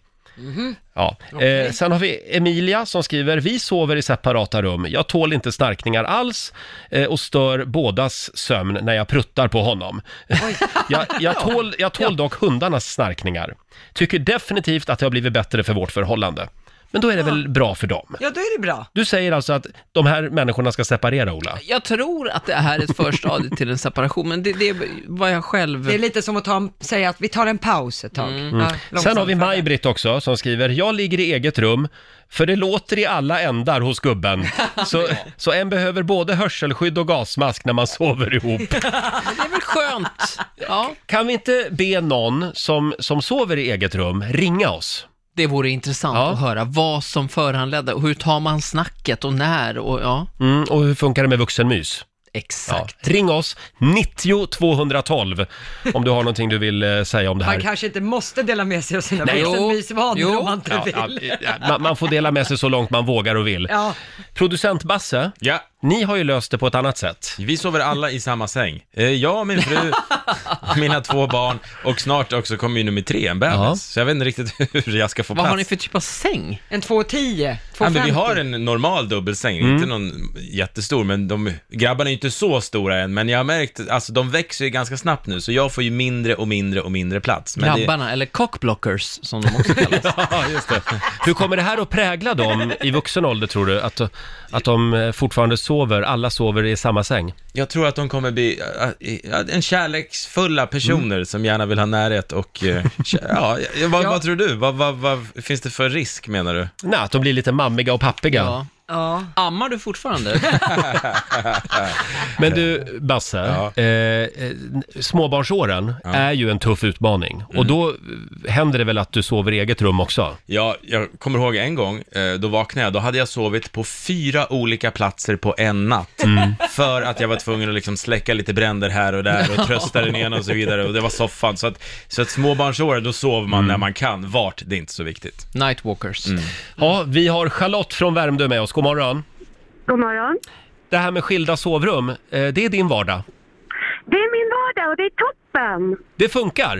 Ja. Eh, sen har vi Emilia som skriver, vi sover i separata rum. Jag tål inte snarkningar alls eh, och stör bådas sömn när jag pruttar på honom. [LAUGHS] jag, jag tål, jag tål dock hundarnas snarkningar. Tycker definitivt att det har blivit bättre för vårt förhållande. Men då är det väl bra för dem? Ja, då är det bra. Du säger alltså att de här människorna ska separera, Ola? Jag tror att det här är ett förstadie till en separation, men det, det är vad jag själv... Det är lite som att ta, en- säga att vi tar en paus ett tag. Ja, långsamt. Mm. Sen har vi Maj-Britt också som skriver, jag ligger i eget rum, för det låter i alla ändar hos [LAUGHS] gubben. Så, så en behöver både hörselskydd och gasmask när man sover ihop. Det är väl skönt? Ja, Kan vi inte be någon som, som sover i eget rum ringa oss? det vore intressant Ja. att höra vad som föranledde och hur tar man snacket och när och ja, Mm, och hur funkar det med vuxenmys? Ja. exakt. Ring oss, 90 212, om du har någonting du vill eh, säga om det Man här. kanske inte måste dela med sig av sina Nej. vuxenmysvanor Jo. om man inte Ja, vill. ja, ja, man, man får dela med sig så långt man vågar och vill. Ja. Producent Basse, Ja, ni har ju löst det på ett annat sätt. vi sover alla i samma säng. Eh, Jag, min [LAUGHS] fru, mina två barn och snart också kommer ju nummer tre, en bebis. Ja. Så jag vet inte riktigt [LAUGHS] hur jag ska få Vad plats. har ni för typ av säng? En 2,10, Ja, men 2,50. vi har en normal dubbelsäng, inte någon jättestor, men de, grabbarna är ju inte så stora än, men jag har märkt, alltså de växer ju ganska snabbt nu, så jag får ju mindre och mindre och mindre plats. Men det, Grabbarna, eller cockblockers som de [LAUGHS] också kallas. Ja, just det. Hur kommer det här att prägla dem i vuxen ålder tror du? Att, att de eh, fortfarande sover, alla sover i samma säng? jag tror att de kommer bli äh, äh, en kärleksfulla personer som gärna vill ha närhet och, [LAUGHS] äh, kä- ja, ja, vad, vad tror du? Vad, vad, vad finns det för risk menar du? Nej, att de blir lite mammiga och pappiga. Ja. Ja. Ammar [LAUGHS] du fortfarande? Men du, Basse, eh, eh, småbarnsåren är ju en tuff utmaning. Och då eh, händer det väl att du sover i eget rum också? Ja, jag kommer ihåg en gång, eh, då vaknade jag, då hade jag sovit på fyra olika platser på en natt. För att jag var tvungen att liksom släcka lite bränder här och där och trösta den ena och så vidare. Och det var soffan. Så att, så att småbarnsåren, då sover man när man kan. Vart, det är inte så viktigt. Nightwalkers. Mm. Ja, vi har Charlotte från Värmdö med oss. God morgon. God morgon. Det här med skilda sovrum, eh, det är din vardag. Det är min vardag och det är toppen. Det funkar!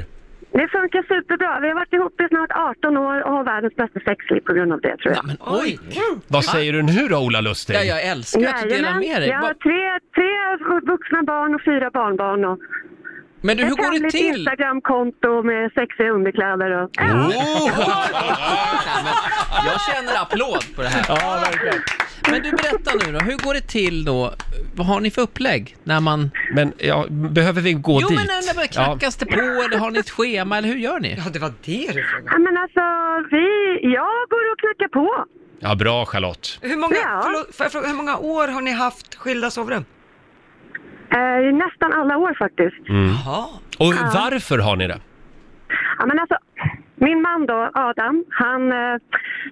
Det funkar superbra. Vi har varit ihop i snart 18 år och har världens bästa sexliv på grund av det tror jag. Men oj! Vad säger du nu då, Ola Lustig? Ja, jag älskar att du delar med dig. jag har Va- tre, tre vuxna barn och fyra barnbarn och Men du, hur ett går det hemligt till? Instagramkonto med sexiga underkläder och... Ja, Nej, men jag känner applåd på det här. Men du, berätta nu då, hur går det till då? Vad har ni för upplägg när man... Men ja, behöver vi gå Jo, dit? men när det knackas det på eller har ni ett schema eller hur gör ni? ja, det var det du frågade. Ja, men alltså, vi, jag går och knackar på. ja. ja, bra Charlotte. Hur många, Ja. förlåt, får jag fråga, hur många år har ni haft skilda sovrum? Eh, nästan alla år faktiskt. Jaha. Och varför har ni det? Ja, men alltså, min man då, Adam, han eh,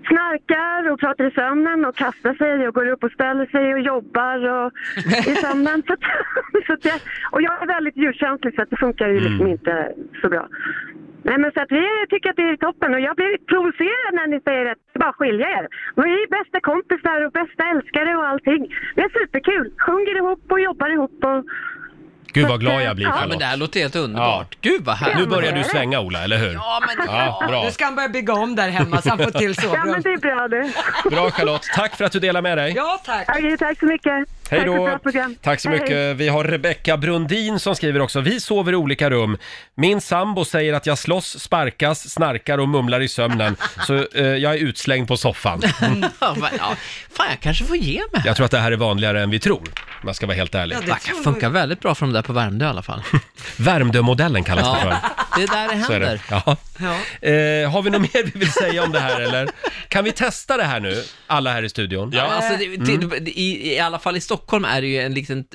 snarkar och pratar i sömnen och kastar sig och går upp och ställer sig och jobbar och, [LAUGHS] i sömnen. Så att, [LAUGHS] så att jag, och jag är väldigt djurkänslig så att det funkar ju liksom Mm. inte så bra. Nej, men så att vi tycker att det är toppen och jag blir provocerad när ni säger att det är bara att skilja er. Vi är bästa kompisar och bästa älskare och allting. Det är superkul. Sjunger ihop och jobbar ihop och Gud vad glad jag blir Ja, Ja, men Charlotte. det här låter helt underbart. Gud vad Nu härligt. börjar du svänga Ola, eller hur? Ja, men Ja, bra. Nu ska han börja bygga om där hemma så han får till [LAUGHS] ja, men sovrum. det är [LAUGHS] bra det. Bra Charlotte, tack för att du delar med dig. Ja, tack. Okej, tack så mycket. Hej tack för ett bra då! program. Tack så Hej, mycket. Vi har Rebecka Brundin som skriver också. Vi sover i olika rum. Min sambo säger att jag slåss, sparkas, snarkar och mumlar i sömnen. Så eh, jag är utslängd på soffan. Ja, men, ja. Fan, jag kanske får ge mig. Jag tror att det här är vanligare än vi tror. Om jag ska vara helt ärlig. Ja, det Det tror jag. funkar väldigt bra för de där på Värmdö i alla fall. Värmdömodellen kallas det för. Det är där det Så är händer. det. Ja. Eh, har vi något mer vi vill säga om det här eller? Kan vi testa det här nu, alla här i studion? Ja, alltså, det, det, det- i, I alla fall i Stockholm är det ju en liten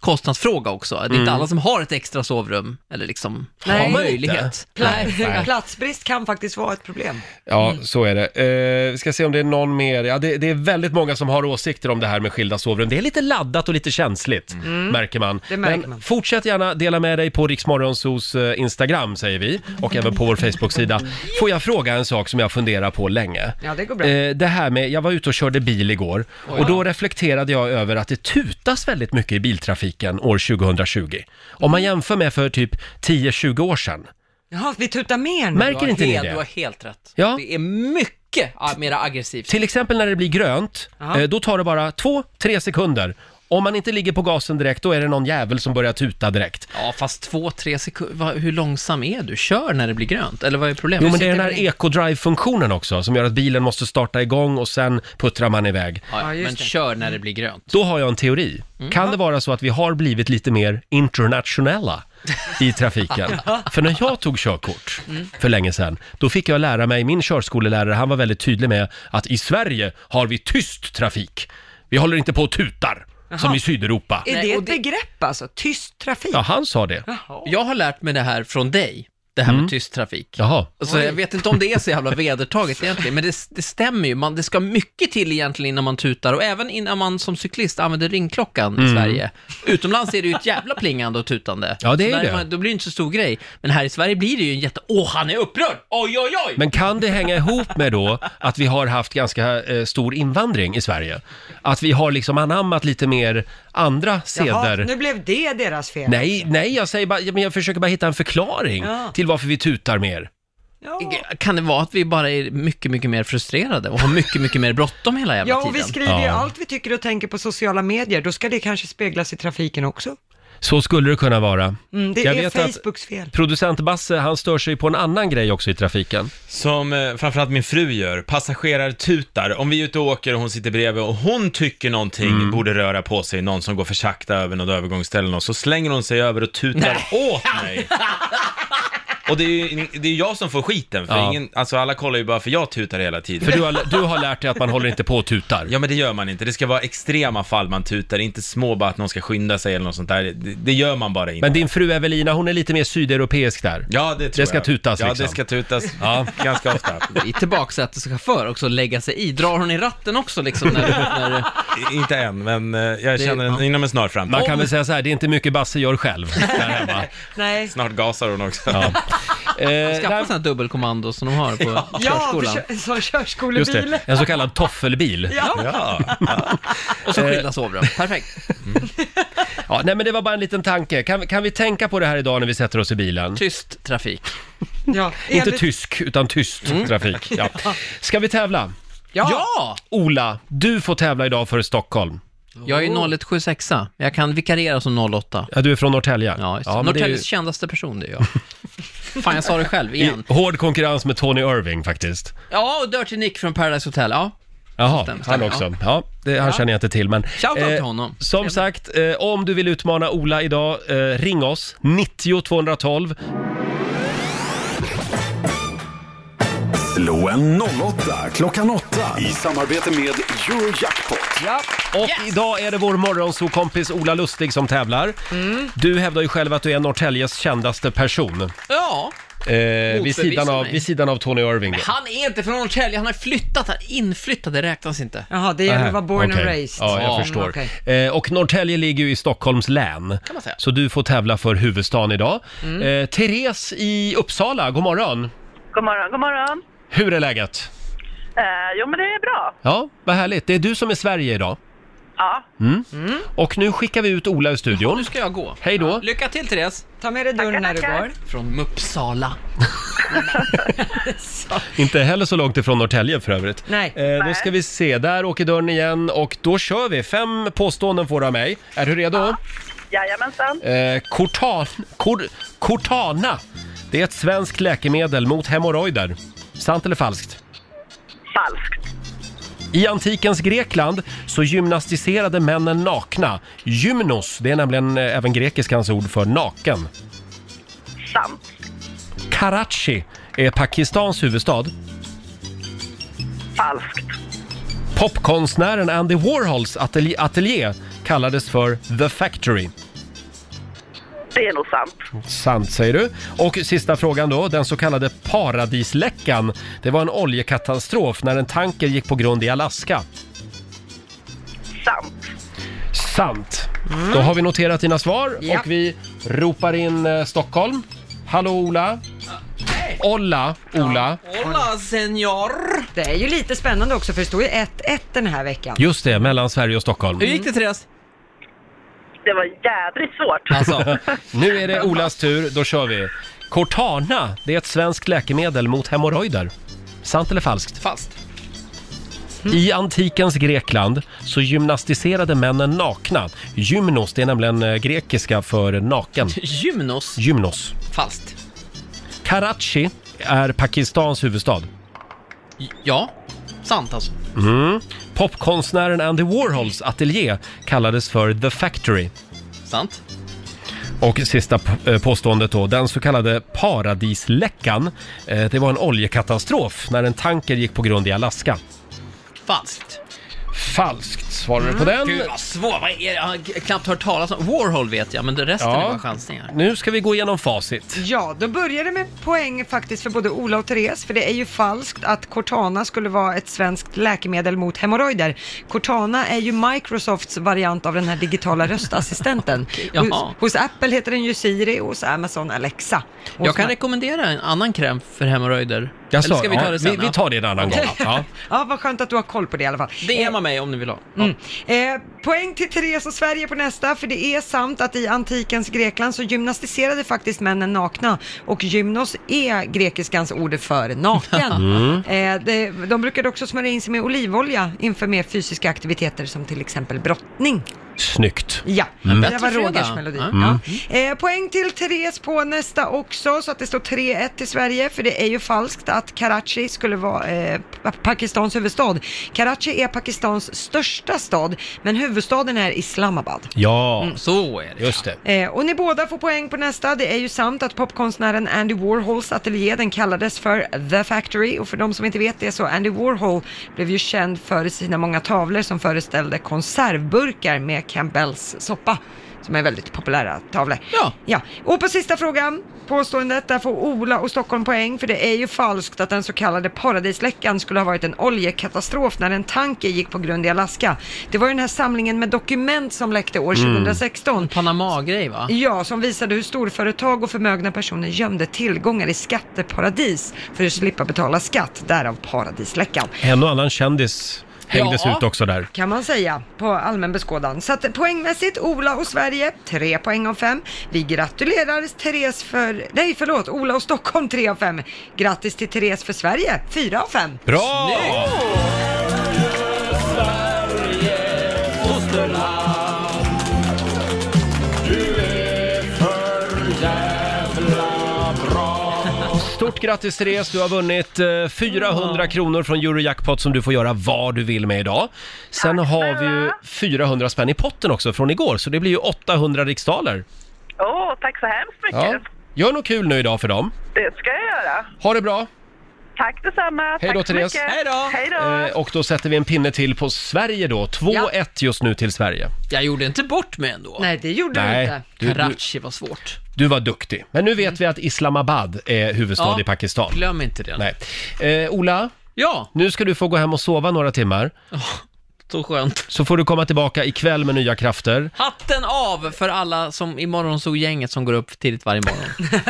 kostnadsfråga också. Det är Mm. inte alla som har ett extra sovrum, eller liksom Nej. har Har man möjlighet. Pla- Nej. Platsbrist kan faktiskt vara ett problem. Ja, så är det. Eh, vi ska se om det är någon mer. Ja, det, det är väldigt många som har åsikter om det här med skilda sovrum. Det är lite laddat och lite känsligt, märker man. Mm. Det märker Men man. fortsätt gärna dela med dig på Riksmorgonsos eh, Instagram, säger vi, och även på vår Facebook-sida. Får jag fråga en sak som jag funderar på länge? Ja, det går bra. Eh, det här med, jag var ute och körde bil igår och då reflekterade jag över att det tutas väldigt mycket i biltrafiken år 2020. Om Mm. man jämför med för typ 10-20 år sedan. Jaha, vi tutar mer nu. Märker inte ni helt, Du har det? helt rätt. Ja. Det är mycket ah, mera aggressivt. Till exempel när det blir grönt, Ja. eh, då tar det bara två, tre sekunder. Om man inte ligger på gasen direkt, då är det någon jävel som börjar tuta direkt. Ja, fast två, tre sekunder. vad- Hur långsam är du? Kör när det blir grönt, eller vad är problemet? Jo, men det är den här Sitter- eco-drive-funktionen också, som gör att bilen måste starta igång och sen puttrar man iväg. Ja, Ja, just men det. kör när det blir grönt. Då har jag en teori. Kan det vara så att vi har blivit lite mer internationella i trafiken? För när jag tog körkort för länge sedan, då fick jag lära mig, min körskolelärare, han var väldigt tydlig med att i Sverige har vi tyst trafik. Vi håller inte på och tutar, som i Sydeuropa. Är Nej, det och ett det- begrepp alltså? Tyst trafik? Ja, han sa det. Jag har lärt mig det här från dig, det här med tyst trafik. Jaha. Alltså, jag vet inte om det är så jävla vedertaget egentligen, men det, det stämmer ju. Man, det ska mycket till egentligen innan man tutar och även innan man som cyklist använder ringklockan Mm. i Sverige. Utomlands är det ju ett jävla plingande och tutande. Ja, det är Så där det. Man, då blir det inte så stor grej. Men här i Sverige blir det ju en jätte... Åh, han är upprörd! Oj, oj, oj! Men kan det hänga ihop med då att vi har haft ganska eh, stor invandring i Sverige? Att vi har liksom anammat lite mer andra Jaha, seder? nu blev det deras fel. Nej, nej, jag säger bara, ja, men jag försöker bara hitta en förklaring Ja. till varför vi tutar mer. Ja. Kan det vara att vi bara är mycket, mycket mer frustrerade och har mycket, mycket mer bråttom hela jävla Ja, tiden? och vi skriver ju Ja. allt vi tycker och tänker på sociala medier. Då ska det kanske speglas i trafiken också. Så skulle det kunna vara. Mm, det Jag är vet att- Facebooks fel. Producent Basse, han stör sig på en annan grej också i trafiken. Som eh, framförallt min fru gör, passagerartutar. Om vi är ute och åker och hon sitter bredvid och hon tycker någonting Mm. borde röra på sig, någon som går för sakta över något övergångsställe och så slänger hon sig över och tutar åt [LAUGHS] mig. Och det är ju det är jag som får skiten, för Ja. ingen, alltså alla kollar ju bara för jag tutar hela tiden. För du har, du har lärt dig att man håller inte på och tutar. Ja men det gör man inte, det ska vara extrema fall man tutar, inte små bara att någon ska skynda sig eller något sånt där. Det, det gör man bara inte. Men din fru Evelina, hon är lite mer sydeuropeisk där. Ja det tror Det ska jag. tutas, Ja liksom. det ska tutas, Ja. [LAUGHS] ganska ofta. I tillbaksäteschaufför också, lägga sig i. Drar hon i ratten också liksom när, när I- Inte än, men eh, jag känner en, ja. inom en snar framtid. Man kan väl säga så här, det är inte mycket Basse gör själv där [LAUGHS] hemma. Nej. Snart gasar hon också. Eh, Skaffa där- sådana här dubbelkommando som de har på Ja, körskolan. för kö- [LAUGHS] som Just körskolebil. det, en så kallad [LAUGHS] toffelbil. Ja. Ja. Och så skilda sovrum. Perfekt. Ja, nej men det var bara en liten tanke. Kan, kan vi tänka på det här idag när vi sätter oss i bilen? Tyst trafik. Ja. Inte enligt- tysk, utan tyst trafik. Mm. [LAUGHS] Ja. Ska vi tävla? Ja! Ola, du får tävla idag för Stockholm. Jag är 0176 Jag kan vikariera som 08. Ja, du är från Norrtälje. Ja, just det. men det är Norrtäljes ju kändaste person, det är jag. [LAUGHS] Fan, jag sa det själv igen. i hård konkurrens med Tony Irving faktiskt. Ja, och Dirty Nick från Paradise Hotel. Ja, Jaha, han Stämmer, stämmer, också. Ja, det, han känner jag inte till men... eh, Shoutout till honom. Som sagt, eh, om du vill utmana Ola idag, eh, ring oss. 90 212. Slå en 08 klockan 8 i samarbete med Eurojackpot. Och idag är det vår morgonsokompis Ola Lustig som tävlar. Mm. Du hävdar ju själv att du är Norrtäljes kändaste person. ja. Eh, vid, Motbevisa sidan av, mig. vid sidan av Tony Irving. han är inte från Norrtälje. Han har flyttat här. Inflyttad, det räknas inte. Jaha, det gäller att vara born and Äh, Okej. raised. Ja, jag Ja, förstår. okej. Eh, och Norrtälje ligger ju i Stockholms län. Kan man säga. Mm. Så du får tävla för huvudstaden idag. Eh, Therese i Uppsala, god morgon. God morgon, god morgon. Hur är läget? Eh, jo, men det är bra. Ja, vad härligt. Det är du som är Sverige idag. Ja. Och nu skickar vi ut Ola ur Nu studion. ska jag gå. Hej då. Lycka till, Therese. Ta med dig dörren när du tackar. går. Från Uppsala. Inte heller så långt ifrån Norrtälje för övrigt. Nej. Eh, då ska vi se, där åker dörren igen och då kör vi. Fem påståenden får du av mig. Är du redo? Jajamensan. Eh, Cortan, Cor, Cortana, det är ett svenskt läkemedel mot hemorrojder. Sant eller falskt? Falskt. I antikens Grekland så gymnastiserade männen nakna. Gymnos, det är nämligen eh, även grekiskans ord för naken. Sant. Karachi är Pakistans huvudstad? Falskt. Popkonstnären Andy Warhols atelj- ateljé kallades för The Factory. Det är nog sant. Sant säger du. Och sista frågan då, den så kallade paradisläckan. Det var en oljekatastrof när en tanker gick på grund i Alaska. Sant. Sant. Då har vi noterat dina svar Ja. och vi ropar in eh, Stockholm. Hallå Ola! Olla, Ola. Hola senor! Det är ju lite spännande också för det står ju 1-1 den här veckan. Just det, mellan Sverige och Stockholm. det Therese? Det var jädrigt svårt. Alltså, nu är det Olas tur, då kör vi. Cortana, det är ett svenskt läkemedel mot hemorrojder. Sant eller falskt? Falskt. I antikens Grekland så gymnastiserade männen nakna. Gymnos, det är nämligen eh, grekiska för naken. Gymnos? Gymnos. Falskt. Karachi är Pakistans huvudstad. Ja, sant alltså. Mm. Popkonstnären Andy Warhols ateljé kallades för The Factory. Sant. Och sista p- eh, påståendet då, den så kallade paradisläckan. eh, Det var en oljekatastrof när en tanker gick på grund i Alaska. Falskt. Falskt svarar du på den. Mm. Gud vad svårt, vad är det? Jag har knappt hört talas om. Warhol vet jag, men det resten Ja. är bara chansningar. Nu ska vi gå igenom facit. Ja, då börjar det med poäng faktiskt för både Ola och Therese, för det är ju falskt att Cortana skulle vara ett svenskt läkemedel mot hemorrojder. Cortana är ju Microsofts variant av den här digitala röstassistenten. jaha. hos, hos Apple heter den ju Siri och hos Amazon Alexa. Hos Jag kan Ma- rekommendera en annan kräm för hemorrojder. Jaså, Eller ska vi ja, ta det sen? vi- vi tar det en annan gång, ja. [LAUGHS] ja, vad skönt att du har koll på det i alla fall. DMa mig om ni vill ha. Mm. Eh, poäng till Therese och Sverige på nästa, för det är sant att i antikens Grekland så gymnastiserade faktiskt männen nakna och gymnos är grekiskans ord för naken. Eh, det, de brukade också smörja in sig med olivolja inför mer fysiska aktiviteter som till exempel brottning. Snyggt. Ja, det där Bättre var fredag. Rogers melodi. Ja. Ja. Eh, poäng till Therese på nästa också, så att det står 3-1 till Sverige, för det är ju falskt att Karachi skulle vara eh, Pa- Pakistans huvudstad. Karachi är Pakistans största stad, men huvudstaden är Islamabad. Mm. Ja, Så är det. just det. Eh, och ni båda får poäng på nästa. Det är ju sant att popkonstnären Andy Warhols ateljé, den kallades för The Factory. Och för de som inte vet det så, Andy Warhol blev ju känd för sina många tavlor som föreställde konservburkar med Campbells soppa som är väldigt populära tavlor. Ja. ja. Och på sista frågan, påståendet, där får Ola och Stockholm poäng för det är ju falskt att den så kallade paradisläckan skulle ha varit en oljekatastrof när en tanker gick på grund i Alaska. Det var ju den här samlingen med dokument som läckte år 2016 Panama-grej va? Ja, som visade hur storföretag och förmögna personer gömde tillgångar i skatteparadis för att slippa betala skatt, därav paradisläckan. En och annan kändis hängdes Ja. ut också där. Kan man säga på allmän beskådan. Så att poängmässigt Ola och Sverige, tre poäng av fem. Vi gratulerar Therese för, nej förlåt, Ola och Stockholm tre av fem. Grattis till Therese för Sverige, fyra av fem. Bra! Stort grattis Therese, du har vunnit eh, 400 kronor från Eurojackpot som du får göra vad du vill med idag. Sen har vi ju 400 spänn i potten också från igår, så det blir ju 800 riksdaler. Åh, tack så hemskt mycket. Ja. Gör något kul nu idag för dem. Det ska jag göra. Ha det bra! Tack detsamma. Hej då, Tack så Therese. mycket. Hej då. Hej då. Eh, och då sätter vi en pinne till på Sverige då. 2-1 just nu till Sverige. Jag gjorde inte bort mig ändå. Nej, det gjorde du Nej. inte. Du- Karachi var svårt. Du var duktig. Men nu vet vi att Islamabad är huvudstad Mm. Ja. i Pakistan. Glöm inte det. Nej. Eh, Ola, Ja, nu ska du få gå hem och sova några timmar. så skönt. Så får du komma tillbaka ikväll med nya krafter. Hatten av för alla som i morgonsol-gänget som går upp tidigt varje morgon.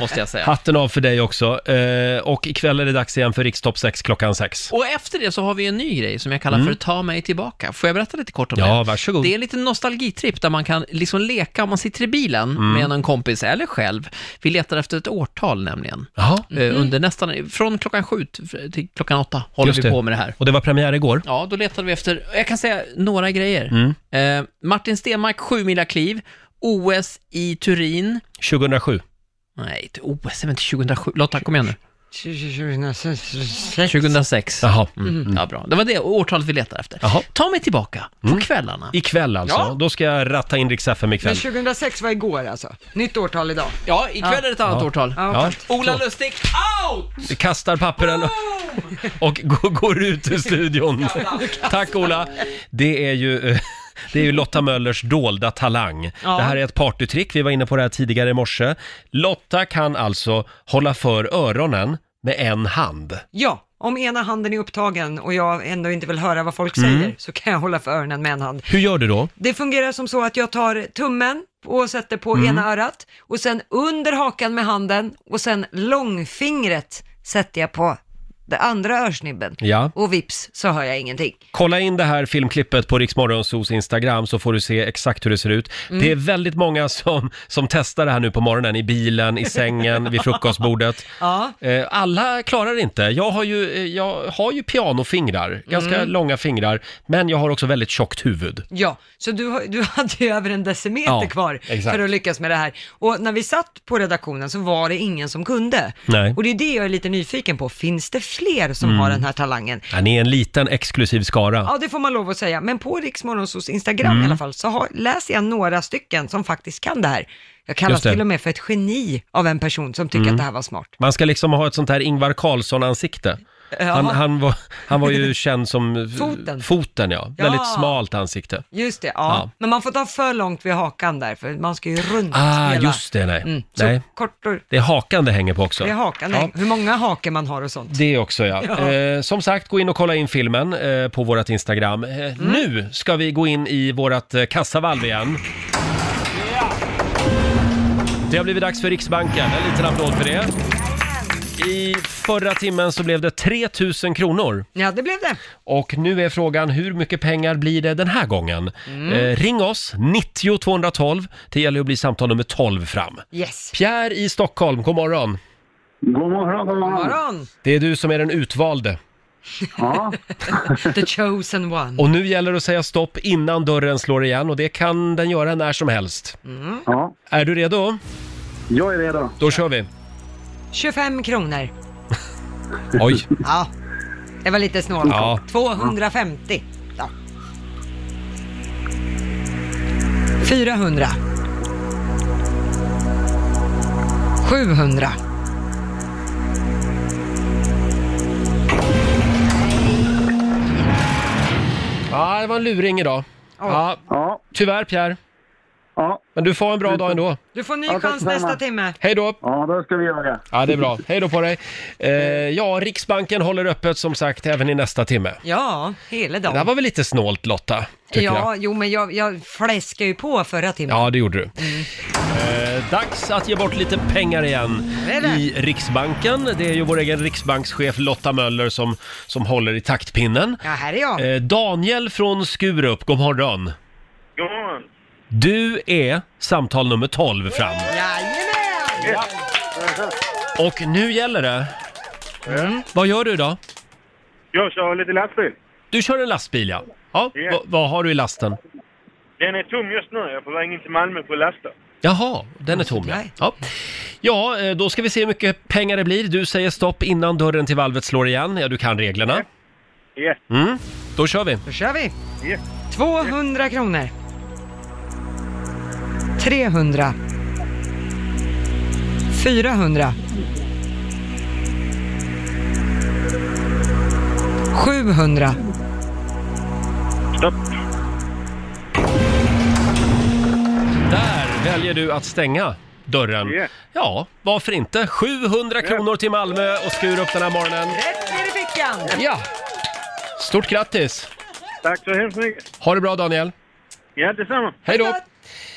[LAUGHS] måste jag säga. Hatten av för dig också. Eh, och ikväll är det dags igen för Rikstopp 6 klockan 6. Och efter det så har vi en ny grej som jag kallar för Ta mig tillbaka. Får jag berätta lite kort om det? Mm. Ja, varsågod. Det är en liten nostalgitripp där man kan liksom leka om man sitter i bilen Mm. med någon kompis eller själv. Vi letar efter ett årtal nämligen. Jaha, Eh, Under nästan, från klockan sju t- till klockan åtta håller just vi på med det här. Och det var premiär igår. Ja, då letade vi efter, jag kan säga några grejer. Mm. Eh, Martin Stenmark, 7 mila kliv, OS i Turin. 2007. Nej, inte OS, men till 2007. Lotta, kom igen nu. 2006. Jaha. Mm. Ja, bra. Det var det årtalet vi letade efter. Ta mig tillbaka på Mm. kvällarna. Ikväll alltså, Ja. då ska jag ratta in Rix FM Men ikväll. 2006 var igår alltså. Nytt årtal idag. Ja, ikväll är det ett annat Ja. årtal. Ja, Ja. fast- Ola Lustig, out! Vi kastar papperen och [LAUGHS] g- går ut ur studion. Tack Ola! Det är ju... eh, [LAUGHS] Det är ju Lotta Möllers dolda talang. Ja. Det här är ett partytrick, vi var inne på det här tidigare i morse. Lotta kan alltså hålla för öronen med en hand. Ja, om ena handen är upptagen och jag ändå inte vill höra vad folk Mm. säger så kan jag hålla för öronen med en hand. Hur gör du då? Det fungerar som så att jag tar tummen och sätter på Mm. ena örat och sen under hakan med handen och sen långfingret sätter jag på det andra örsnibben. Ja. Och vips så hör jag ingenting. Kolla in det här filmklippet på Riksmorgonsos Instagram så får du se exakt hur det ser ut. Mm. Det är väldigt många som, som testar det här nu på morgonen, i bilen, i sängen, vid frukostbordet. Ja. Eh, Alla klarar det inte. Jag har ju, eh, jag har ju pianofingrar, ganska Mm. långa fingrar, men jag har också väldigt tjockt huvud. Ja, så du, har- du [LAUGHS] hade ju över en decimeter Ja, kvar exakt. för att lyckas med det här. Och när vi satt på redaktionen så var det ingen som kunde. Nej. Mm. Och det är det jag är lite nyfiken på. Finns det fler som har den här talangen? Han är en liten exklusiv skara. Ja, det får man lov att säga. Men på Riksmorgonsos Instagram Mm. i alla fall så har, läser jag några stycken som faktiskt kan det här. Jag kallas Just det. Mm. till och med för ett geni av en person som tycker att det här var smart. Man ska liksom ha ett sånt här Ingvar Carlsson-ansikte. Ja. Han, han, var, han var [LAUGHS] ju känd som... eh, Foten. Foten, ja. Ja. Väldigt smalt ansikte. Just det, ja. Ja. Men man får ta för långt vid hakan där, för man ska ju runt Ah, hela. just det, nej. Mm. Så nej. kort och... Det är hakan det hänger på också. Det är hakan, Ja. hur många haker man har och sånt. Det också ja. Ja. Eh, som sagt, gå in och kolla in filmen eh, på vårt Instagram. Eh, Mm. Nu ska vi gå in i vårt eh, kassavalv igen. Det har blivit dags för Riksbanken. En liten applåd för det. I förra timmen så blev det 3 000 kronor. Ja, det blev det. Och nu är frågan hur mycket pengar blir det den här gången? Mm. Eh, ring oss, 90 212. Det gäller att bli samtal nummer 12 fram. Yes. Pierre i Stockholm, god morgon. God morgon, god God morgon. [LAUGHS] morgon, Det är du som är den utvalde. Ja, the chosen one. Och nu gäller det att säga stopp innan dörren slår igen och det kan den göra när som helst. ja, Är du redo? jag är redo. Då kör vi. 25 kronor. Oj, Ja, det var lite snålt. Ja. 250. Ja. 400. 700. ja, det var en luring idag. Ja, Ja, tyvärr Pierre, ja, men du får ha en bra dag ändå. Du får ny tack chans detsamma. nästa timme. Hej då! ja, då ska vi göra det. Ja, det är bra. Hej då på dig. Eh, ja, Riksbanken håller öppet som sagt även i nästa timme. Ja, hela Det här dagen. var väl lite snålt Lotta, tycker Ja, jag. jo men jag, jag fläskade ju på förra timmen. Ja, det gjorde du. Mm. Eh, dags att ge bort lite pengar igen Det är det. i Riksbanken. Det är ju vår egen riksbankschef Lotta Möller som, som håller i taktpinnen. Ja, här är jag. Eh, Daniel från Skurup, god morgon. God morgon. Du är samtal nummer 12 fram. Jajamän! Och nu gäller det. Mm. Vad gör du idag? Jag kör lite lastbil. Du kör en lastbil ja. ja. Ja. va- Vad har du i lasten? Den är tom just nu. Jag är på väg in till Malmö för att lasta. Jaha, den är tom ja. ja. Ja, eh, då ska vi se hur mycket pengar det blir. Du säger stopp innan dörren till valvet slår igen. Ja, du kan reglerna. Ja. Mm. Då kör vi. Då kör vi. Ja. 200 kronor. 300. 400. 700. Stopp. Där väljer du att stänga dörren. Ja. Ja, varför inte? 700 kronor till Malmö och Skurup den här morgonen. Rätt ner i fickan! Ja! Stort grattis! Tack så hemskt mycket. Ha det bra Daniel! Ja, detsamma. Hej då!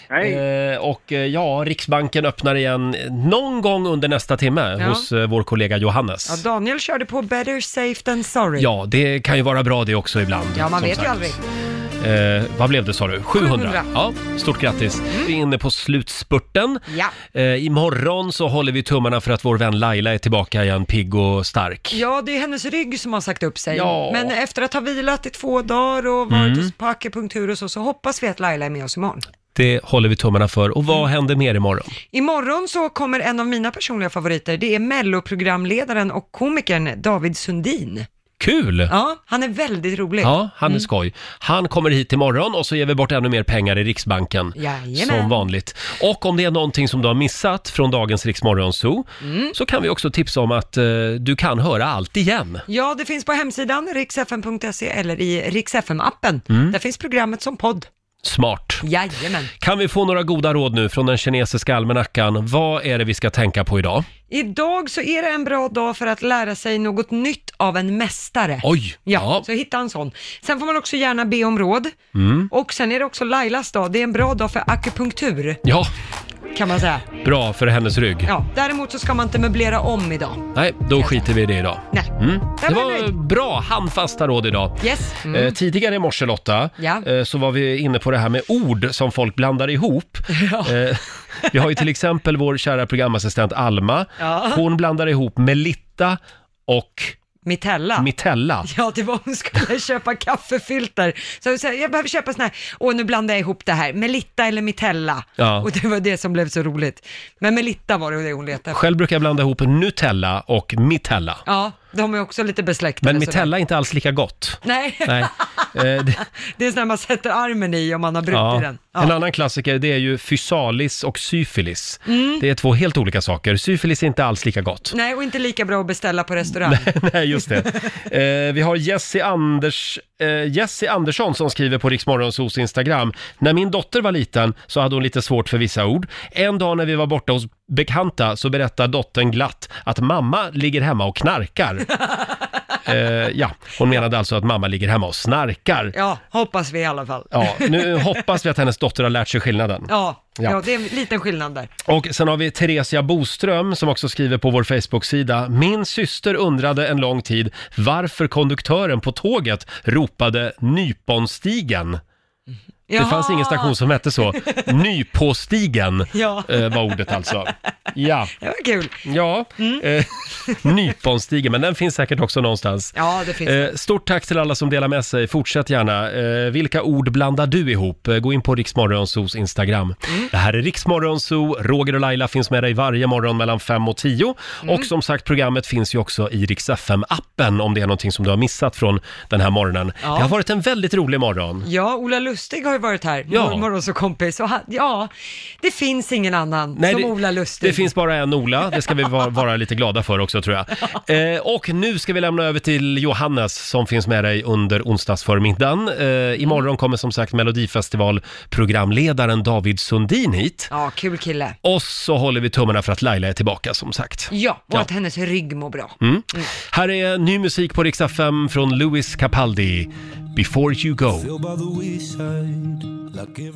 Hej. Eh, och eh, ja, Riksbanken öppnar igen någon gång under nästa timme Ja. hos eh, vår kollega Ja, Johannes. Daniel körde på better safe than sorry. Ja, det kan ju vara bra det också ibland. Ja, man som vet ju sagt. aldrig. Eh, vad blev det sa du? 700? 700. Ja, stort grattis. Vi är inne på slutspurten. Mm. Ja. Eh, imorgon så håller vi tummarna för att vår vän Laila är tillbaka igen, pigg och stark. Ja, det är hennes rygg som har sagt upp sig. Ja. Mm. Men efter att ha vilat i två dagar och varit hos på akupunktur och så, så hoppas vi att Laila är med oss imorgon. Det håller vi tummarna för. Och vad händer mer imorgon? Imorgon så kommer en av mina personliga favoriter. Det är melloprogramledaren och komikern David Sundin. Kul! Ja, han är väldigt [LAUGHS] rolig. Ja, han är Mm. skoj. Han kommer hit imorgon och så ger vi bort ännu mer pengar i Riksbanken. Jajamän. Som vanligt. Och om det är någonting som du har missat från dagens Riksmorgon Zoo, Mm. så kan vi också tipsa om att eh, du kan höra allt igen. Ja, det finns på hemsidan riksfm.se eller i riksfm-appen. Mm. Där finns programmet som podd. Smart. Jajamän. Kan vi få några goda råd nu från den kinesiska almanackan? Vad är det vi ska tänka på idag? Idag så är det en bra dag för att lära sig något nytt av en mästare. Oj! Ja, så hitta en sån. Sen får man också gärna be om råd. Mm. Och sen är det också Lailas dag. Det är en bra dag för akupunktur, Ja, kan man säga. bra för hennes rygg. Ja, däremot så ska man inte möblera om idag. Nej, då skiter vi i det idag. Nej. Mm. Där Det var var jag nöjd. bra handfasta råd idag. Yes. Mm. [LAUGHS] Eh, tidigare i morse Lotta, Ja. eh, så var vi inne på det här med ord som folk blandar [LAUGHS] ihop. Eh, vi har ju till exempel vår kära programassistent Alma. Ja. Hon blandar ihop Melitta och Mitella. Mitella. Ja, det var hon skulle [LAUGHS] köpa kaffefilter. Så jag, sa, jag behöver köpa sån här, och nu blandar jag ihop det här, Melitta eller Mitella. Ja. Och det var det som blev så roligt. Men Melitta var det hon letade efter. Själv brukar jag blanda ihop Nutella och Mitella. Ja, de är också lite besläktade. Men sådär. Mitella är inte alls lika [LAUGHS] gott. Nej. Nej. Eh, det, det är sån här man sätter armen i om man har brutit ja. den. En annan klassiker det är ju fysalis och syfilis. Mm. Det är två helt olika saker. Syfilis är inte alls lika gott. Nej, och inte lika bra att beställa på restaurang. [LAUGHS] Nej, just det. Eh, vi har Jesse, Anders, eh, Jesse Andersson som skriver på Riksmorgonsos Instagram. När min dotter var liten så hade hon lite svårt för vissa ord. En dag när vi var borta hos bekanta så berättar dottern glatt att mamma ligger hemma och knarkar. Eh, ja, hon menade alltså att mamma ligger hemma och snarkar. [LAUGHS] Ja, hoppas vi i alla fall. Ja, nu hoppas vi att hennes dotter har lärt sig skillnaden. Ja, Ja. ja. det är en liten skillnad där. Och sen har vi Theresia Boström som också skriver på vår Facebook-sida. Min syster undrade en lång tid varför konduktören på tåget ropade Nyponstigen. Det Jaha. fanns ingen station som hette så. Nypåstigen Ja. eh, var ordet alltså. Ja. Det var kul. Ja, Mm. eh, Nyponstigen, men den finns säkert också någonstans. Ja, det finns Eh, det. stort tack till alla som delar med sig. Fortsätt gärna. Eh, vilka ord blandar du ihop? Eh, Gå in på Riksmorgonsos Instagram. Mm. Det här är Riksmorgonso. Roger och Laila finns med dig varje morgon mellan 5 och 10. Mm. Och som sagt, programmet finns ju också i Rix FM-appen om det är någonting som du har missat från den här morgonen. Ja. Det har varit en väldigt rolig morgon. Ja, Ola Lustig har ju varit här, Ja. mormor och så kompis. Och han, ja, det finns ingen annan som det, Ola Lustig. Det finns bara en Ola, det ska vi vara, vara lite glada för också tror jag. Eh, och nu ska vi lämna över till Johannes som finns med dig under onsdagsförmiddagen. Eh, imorgon kommer som sagt Melodifestivalprogramledaren David Sundin hit. Ja, kul kille. Och så håller vi tummarna för att Laila är tillbaka som sagt. Ja, och Ja. att hennes rygg mår bra. Mm. Här är ny musik på Rix FM från Louis Capaldi, Before You Go. Still by the wayside, like every-